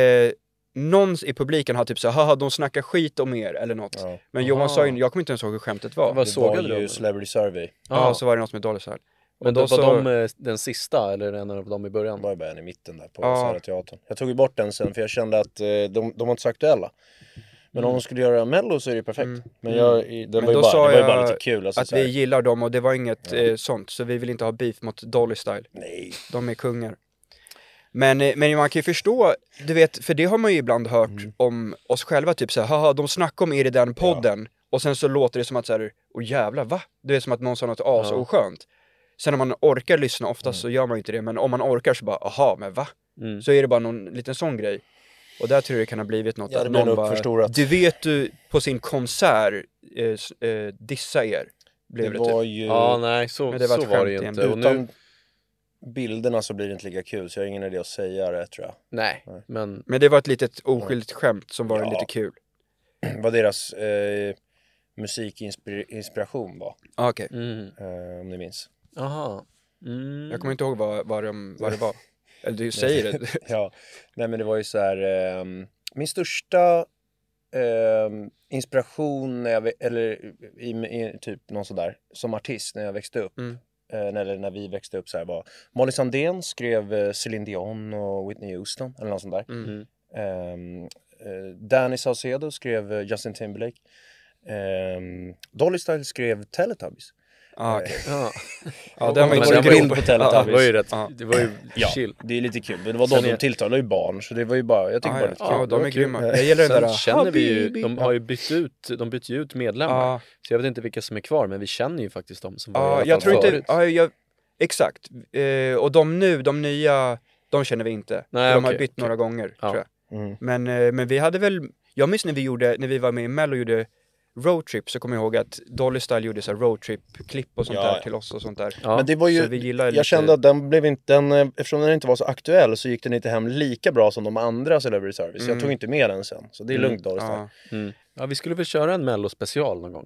S4: någon i publiken har typ så här, haha de snackar skit om er eller något.
S1: Ja.
S4: Men Johan
S2: Aha.
S4: sa ju, jag kommer inte ens ihåg hur skämtet var.
S2: Vad
S1: Det var
S2: sågade
S1: ju
S2: du dem?
S1: Celebrity Survey.
S4: Ja,
S2: Ja.
S4: så var det något med Dolly Style.
S2: Men
S4: då
S2: då,
S4: så-
S2: var de eh, den sista eller en av dem i
S1: Det
S2: början?
S1: var ju bara en i mitten där på
S4: Ja.
S1: Södra Teatern. Jag tog ju bort den sen för jag kände att eh, de, de var inte så aktuella. Men om de skulle göra Mello så är det ju perfekt. Men jag, i- det,
S4: Mm. Men
S1: var ju
S4: då
S1: bara, det
S4: sa
S1: var ju bara
S4: jag
S1: lite kul. Alltså,
S4: Att
S1: så här,
S4: vi gillar dem och det var inget eh, sånt, så vi vill inte ha beef mot Dolly Style.
S1: Nej.
S4: De är kungar. Men, eh, men man kan ju förstå, du vet, för det har man ju ibland hört
S2: Mm.
S4: om oss själva, typ så här, haha de snackar om er i den podden. Och sen så låter det som att så här, åh jävlar va? Du vet som att någon sa något as oskönt. Sen om man orkar lyssna, oftast så gör man ju inte det, men om man orkar så bara, aha men va?
S2: Mm.
S4: Så är det bara någon liten sån grej. Och där tror jag det kan ha blivit något,
S1: Ja, det
S4: att
S1: blir
S4: någon
S1: nog
S4: bara,
S1: förstorat.
S4: du vet du på sin konsert eh, s- eh, dissa er.
S1: Det
S4: Blev det,
S1: var
S4: typ.
S1: ju...
S2: Ja, nej, så,
S4: Men
S2: var,
S4: det
S2: det,
S4: var ett
S2: så var det
S4: skämt
S2: ju inte. Och
S4: egentligen.
S1: Utan
S2: nu,
S1: bilderna så blir det inte lika kul så jag har ingen idé att säga det tror jag.
S2: nej, men
S4: Men det var ett litet oskyldigt skämt som var
S1: Ja.
S4: lite kul.
S1: Vad deras eh, musikinspiration var.
S4: Ah, Okej.
S2: mm.
S1: Eh, om ni minns.
S2: Aha. Mm.
S4: Jag kommer inte ihåg vad, vad, de, vad det var. Eller du säger det.
S1: ja, nej men det var ju så här, ehm, min största ehm, inspiration när jag, vä- eller i, i typ någon sådär, som artist när jag växte upp,
S4: Mm.
S1: eh, eller när vi växte upp så här var Molly Sandén skrev eh, Céline Dion och Whitney Houston eller något sånt där.
S4: Mm.
S1: Ehm, eh, Danny Saucedo skrev eh, Justin Timberlake. Ehm, Dolly Style skrev Teletubbies.
S4: Ah, okej.
S2: Ja.
S4: Ja, den var
S2: Men
S4: inte så
S2: den var ju-
S1: bild
S4: grov.
S1: på
S2: Ja,
S1: Teletubbies.
S2: det var ju rätt,
S4: Ja.
S2: det var ju
S1: Ja,
S2: chill.
S1: det är lite kul. Men det var då
S2: Sen
S1: de
S2: är-
S1: tilltalade ju barn så det var ju bara, jag tycker
S4: Ah,
S1: bara lite
S4: ja,
S1: kul.
S4: ja, de är grymma. Jag
S1: Eh,
S4: gillar den
S2: Sen
S4: där.
S2: känner vi ju,
S4: Habibi.
S2: de har ju bytt ut, de byter ju ut medlemmar.
S4: Ja.
S2: Så jag vet inte vilka som är kvar, men vi känner ju faktiskt de som var i
S4: Ja,
S2: alla
S4: jag
S2: fall
S4: tror inte,
S2: förut.
S4: ja, jag, exakt. Eh, och de nu, de nya, de känner vi inte.
S2: Nej,
S4: de har
S2: okej,
S4: bytt
S2: okej.
S4: några gånger,
S2: Ja.
S4: tror jag.
S1: Mm.
S4: Men, eh, men vi hade väl, jag minns när vi gjorde, när vi var med i Mello och gjorde roadtrip, så kommer jag ihåg att Dolly Style gjorde så här roadtrip-klipp och sånt
S1: Ja,
S4: där
S1: ja.
S4: till oss och sånt där.
S2: Ja.
S1: Men det var
S4: Så vi
S1: ju,
S4: gillar
S1: jag
S4: lite-
S1: kände att den blev inte, den, eh, eftersom den inte var så aktuell så gick den inte hem lika bra som de andra Celebrity Service. Jag tog inte med den sen, så det är lugnt Doris.
S4: Mm. Ja.
S2: Mm. Ja, vi skulle väl köra en mello special någon gång.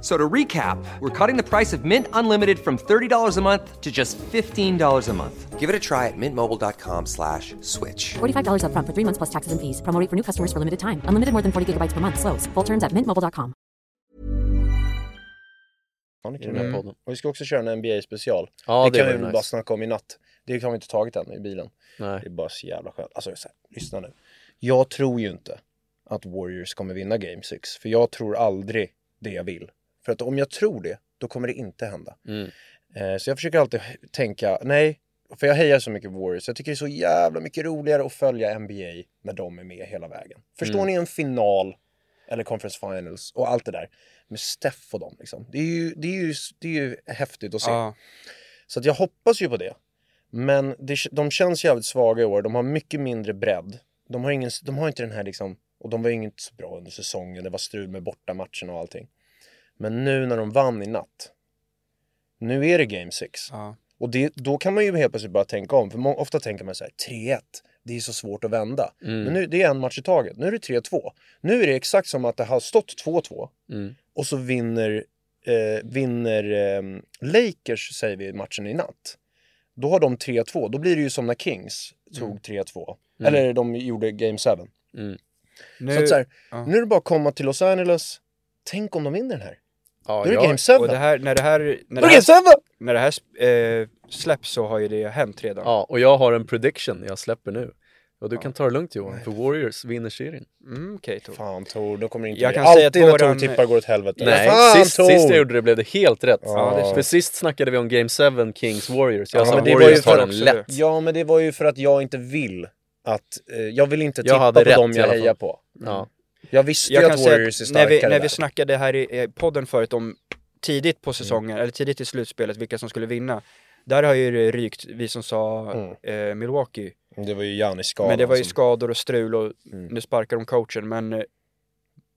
S7: So to recap, we're cutting the price of Mint Unlimited from $30 a month to just $15 a month. Give it a try at mintmobile.com slash switch.
S8: $45 upfront for three months plus taxes and fees. Promo rate for new customers for limited time. Unlimited more than 40 gigabytes per month. Slows. Full terms at mintmobile.com.
S1: i den här podden. Och vi ska också köra en NBA-special.
S2: Ja,
S1: det,
S2: det
S1: kan vi
S2: var
S1: väl
S2: nice.
S1: bara snacka om i natt. Det har vi inte tagit än i bilen.
S2: Nej.
S1: Det är bara så jävla skönt. Alltså, så här, lyssna nu. Jag tror ju inte att Warriors kommer vinna Game 6. För jag tror aldrig det jag vill. För att om jag tror det, då kommer det inte hända. Eh, så jag försöker alltid tänka, nej, för jag hejar så mycket på Warriors. Jag tycker det är så jävla mycket roligare att följa NBA när de är med hela vägen. Förstår ni en final eller conference finals och allt det där med Steff och dem liksom. Det är ju, det är ju, det är ju häftigt att se.
S2: Ah.
S4: Ja.
S1: Så att jag hoppas ju på det. Men det, de känns jävligt svaga i år. De har mycket mindre bredd. De har, ingen, de har inte den här liksom... Och de var ju inte så bra under säsongen. Det var strul med bortamatchen och allting. Men nu när de vann i natt. Nu är det game 6.
S4: Ja.
S1: Och det, då kan man ju helt plötsligt bara tänka om. För må, ofta tänker man så här, 3-1. Det är så svårt att vända. Men nu, det är en match i taget. Nu är det 3-2. Nu är det exakt som att det har stått 2-2. Och så vinner, eh, vinner eh, Lakers, säger vi, matchen i natt. Då har de 3-2. Då blir det ju som när Kings tog 3-2. Eller de gjorde Game 7.
S4: Nu,
S1: så att så här,
S4: Eh, ja.
S1: nu är det bara att komma till Los Angeles. Tänk om de vinner den här.
S2: Ja,
S1: Då är det
S2: jag-
S1: Game 7.
S4: och det här, när det här, när
S1: Då
S4: det
S1: är det
S4: här,
S1: Game 7!
S4: när det här sp- eh, släpps så har ju det hänt redan.
S2: Ja, och jag har en prediction jag släpper nu. Och du kan ta det lugnt Johan, för Warriors vinner serien.
S4: Mm, okej Tor.
S1: Fan Tor, då kommer det inte
S4: Jag
S1: bli.
S4: kan säga
S1: Alltid
S4: att
S1: när Tor
S4: våran-
S1: tippar går åt helvete.
S2: Nej,
S1: Fan,
S2: sist,
S1: Tor!
S2: sist jag gjorde det blev det helt rätt.
S1: Ja, det är så.
S2: för sist snackade vi om Game 7 Kings Warriors. Jag
S4: Ja,
S2: sa
S4: men det var ju
S2: Warriors
S4: för
S2: tar den
S4: också
S2: lätt.
S1: Ja, men det var ju för att jag inte vill att... Eh, jag vill inte tippa
S2: hade
S1: på
S2: rätt
S1: dem
S2: i alla
S1: jag
S2: fall.
S1: hejar på.
S2: Ja.
S1: Jag visste
S4: Jag
S1: ju
S4: kan
S1: att
S4: säga att
S1: Warriors är
S4: när
S1: starkare
S4: vi, när
S1: där.
S4: vi snackade här i eh, podden förut om tidigt på säsongen, eller tidigt i slutspelet, vilka som skulle vinna. Där har ju det rykt, vi som sa eh, Milwaukee.
S1: Det var ju Giannis skada.
S4: Men det var ju
S1: som-
S4: skador och strul och nu sparkar de coachen. Men, eh,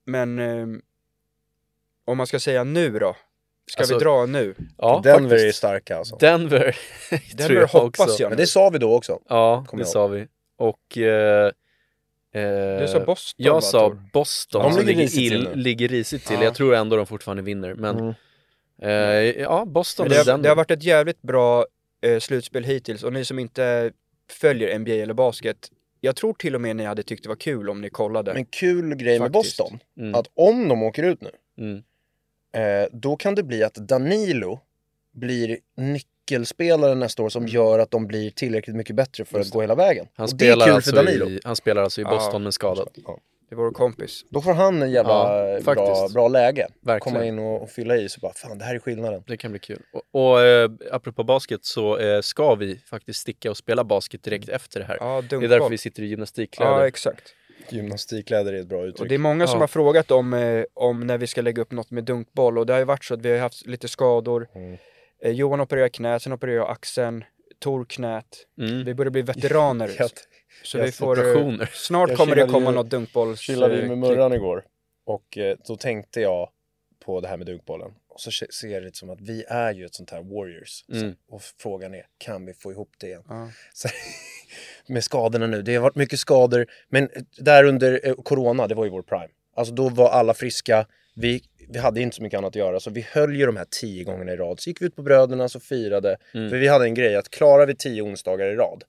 S4: men eh, om man ska säga nu då? Ska
S2: Alltså,
S4: vi dra nu?
S2: Ja,
S1: Denver är
S2: faktiskt.
S1: starka alltså.
S2: Denver, tror
S4: Denver
S2: jag
S4: hoppas
S2: också.
S4: jag nu.
S1: Men det sa vi då också.
S2: Ja,
S1: Kommer
S2: det
S1: jag
S2: sa vi. Och... Eh, eh,
S4: Du sa Boston
S2: Jag
S4: va,
S2: sa
S4: Tor?
S2: Boston,
S1: De
S2: som
S1: ligger
S2: ligger,
S1: risigt till
S2: ill,
S1: nu. Mm.
S2: ligger risigt till.
S4: Ja.
S2: Jag tror ändå de fortfarande vinner, men... Eh, ja, Boston
S4: Men det, har,
S2: Denver.
S4: det har varit ett jävligt bra eh, slutspel hittills och ni som inte följer NBA eller basket, jag tror till och med ni hade tyckt det var kul om ni kollade.
S1: Men kul grej med
S4: Faktiskt.
S1: Boston,
S2: Mm.
S1: att om de åker ut nu,
S2: Mm.
S1: eh, då kan det bli att Danilo blir nyckelspelare nästa år som gör att de blir tillräckligt mycket bättre för att gå hela vägen.
S2: Mm. han,
S1: och det är
S2: spelar
S1: kul för
S2: alltså
S1: Danilo.
S2: i, han spelar alltså i Boston, men skadad.
S1: Ja.
S4: Det var vår kompis.
S1: Då får han en jävla
S2: Ja,
S1: eh, bra,
S2: faktiskt.
S1: bra läge.
S2: Verkligen.
S1: Komma in och, och fylla i så bara, fan det här är skillnaden.
S2: Det kan bli kul. Och, och eh, apropå basket så eh, ska vi faktiskt sticka och spela basket direkt efter det här.
S4: Ja,
S2: det är
S4: dunkboll.
S2: därför vi sitter i gymnastikkläder.
S4: Ja, exakt.
S2: Mm.
S1: Gymnastikkläder är ett bra
S4: Och
S1: uttryck.
S4: det är många som
S2: Ja.
S4: har frågat om, eh, om när vi ska lägga upp något med dunkboll och det har ju varit så att vi har haft lite skador.
S1: Mm.
S4: Eh, Johan opererar knät, sen opererar jag axeln, Tor knät.
S2: Mm.
S4: Vi börjar bli veteraner.
S1: Jag
S4: så
S1: jag
S4: vi får, eh,
S2: operationer.
S4: snart
S1: Jag
S4: kommer det
S1: chillade
S4: komma
S1: ju-
S4: något dunkbolls...
S1: chillade ju
S4: eh,
S1: med
S4: klipp.
S1: Murran igår och eh, då tänkte jag på det här med dunkbollen och så ke- ser jag det som att vi är ju ett sånt här Warriors
S2: Mm.
S1: så, och frågan är kan vi få ihop det igen?
S4: Ja.
S1: Så, med skadorna nu, det har varit mycket skador men eh, där under eh, corona, det var ju vår prime. Alltså då var alla friska, vi, vi hade inte så mycket annat att göra så vi höll ju de här tio gångerna i rad. Så gick vi ut på bröderna och firade, för vi hade en grej att klarar vi tio onsdagar i rad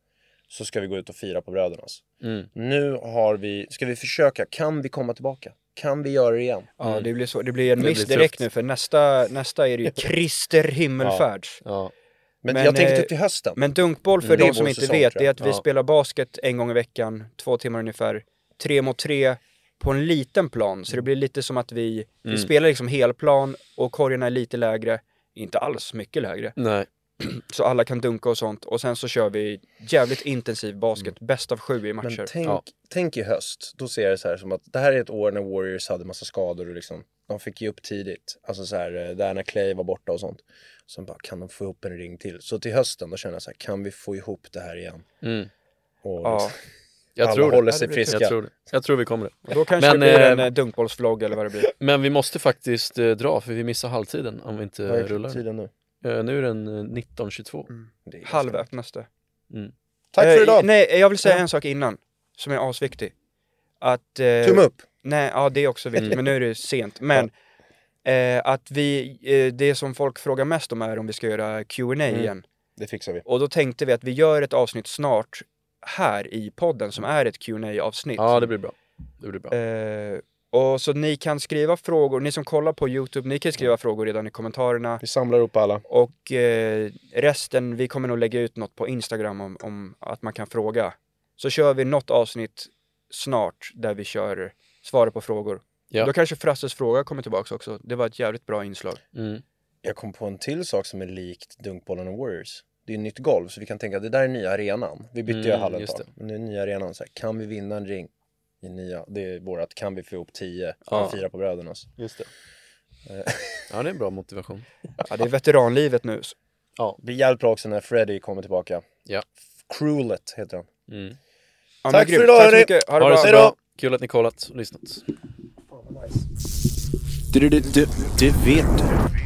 S1: så ska vi gå ut och fira på brödernas.
S2: Mm.
S1: Nu har vi, ska vi försöka, kan vi komma tillbaka? Kan vi göra det igen?
S4: Ja, det blir, så, det blir en
S2: blir
S4: miss direkt
S2: tufft.
S4: nu för nästa, nästa är det ju Krister himmelfärds.
S2: Ja.
S1: Men,
S4: Men,
S1: jag tänker
S4: eh,
S1: typ till hösten.
S4: Men dunkboll för
S1: Mm. Det är
S4: de som
S1: vår
S4: inte
S1: säsong,
S4: vet,
S1: tror
S4: det är
S1: jag.
S4: att vi
S2: Ja.
S4: spelar basket en gång i veckan, två timmar ungefär, tre mot tre på en liten plan.
S1: Mm.
S4: Så det blir lite som att vi, vi spelar liksom helplan och korgarna är lite lägre, inte alls mycket
S1: Mm.
S4: lägre.
S2: Nej.
S4: Så alla kan dunka och sånt och sen så kör vi jävligt intensiv basket, bäst av sju i matcher.
S1: Mm. Men tänk,
S2: Ja.
S1: tänk i höst, då ser jag det så här som att det här är ett år när Warriors hade massa skador och liksom, de fick ge upp tidigt. Alltså så här, eh, där när Clay var borta och sånt. Sen bara, kan de få ihop en ring till? Så till hösten då känner jag så här, kan vi få ihop det här igen?
S2: Mm.
S1: Och
S4: Ja,
S1: liksom,
S2: Jag
S1: alla
S2: tror det.
S1: håller sig
S4: Ja, det blir
S1: friska.
S2: Jag tror, det. jag tror vi kommer det.
S4: och då kanske
S2: Men,
S4: det blir
S2: eh,
S4: en eh, dunkbollsvlogg eller vad det blir.
S2: Men vi måste faktiskt eh, dra, för vi missar halvtiden om vi inte
S1: Vad
S2: eh,
S1: är
S2: rullar.
S1: tiden nu?
S2: Eh, nu är den eh, 19.22.
S1: Det är ganska-
S4: Halv ett nästa.
S1: Tack för
S4: Eh,
S1: idag!
S4: Nej, jag vill säga en sak innan, som är asviktig. Att... eh,
S1: Tumme upp!
S4: Nej, ja det är också viktigt, men nu är det sent. Men eh, att vi, eh, det som folk frågar mest om är om vi ska göra Q&A
S1: Mm.
S4: igen.
S1: Det fixar vi.
S4: Och då tänkte vi att vi gör ett avsnitt snart här i podden som är ett qa avsnitt
S2: Ja, det blir bra. Det blir bra.
S4: eh, Och så ni kan skriva frågor, ni som kollar på Youtube, ni kan skriva frågor redan i kommentarerna.
S1: Vi samlar upp alla.
S4: Och eh, resten, vi kommer nog lägga ut något på Instagram om, om att man kan fråga. Så kör vi något avsnitt snart där vi kör svara på frågor.
S2: Ja.
S4: Då kanske Frasses fråga kommer tillbaks också. Det var ett jävligt bra inslag.
S2: Mm.
S1: Jag kom på en till sak som är likt Dunkbollen och Warriors. Det är nytt golv, så vi kan tänka att det där är nya arenan. Vi bytte ju
S2: Mm,
S1: hallen ett
S2: just
S1: tag. Men nu är nya arenan så här, kan vi vinna en ring? I nya, det är vårat, kan vi få ihop tio? Kan
S2: Ja.
S1: vi fira på brödernas?
S2: Just det. Eh, ja, det är en bra motivation.
S4: Ja, det är veteranlivet nu.
S1: Det blir jävligt bra också när Freddy kommer tillbaka.
S2: Ja.
S1: Cruelet heter han.
S4: Ja, men
S1: Tack för
S4: grymt.
S1: idag,
S4: Tack så
S1: hörni.
S4: mycket. Ha det bra.
S2: så bra. Kul att ni kollat och lyssnat.
S3: Du, du, du, du vet du.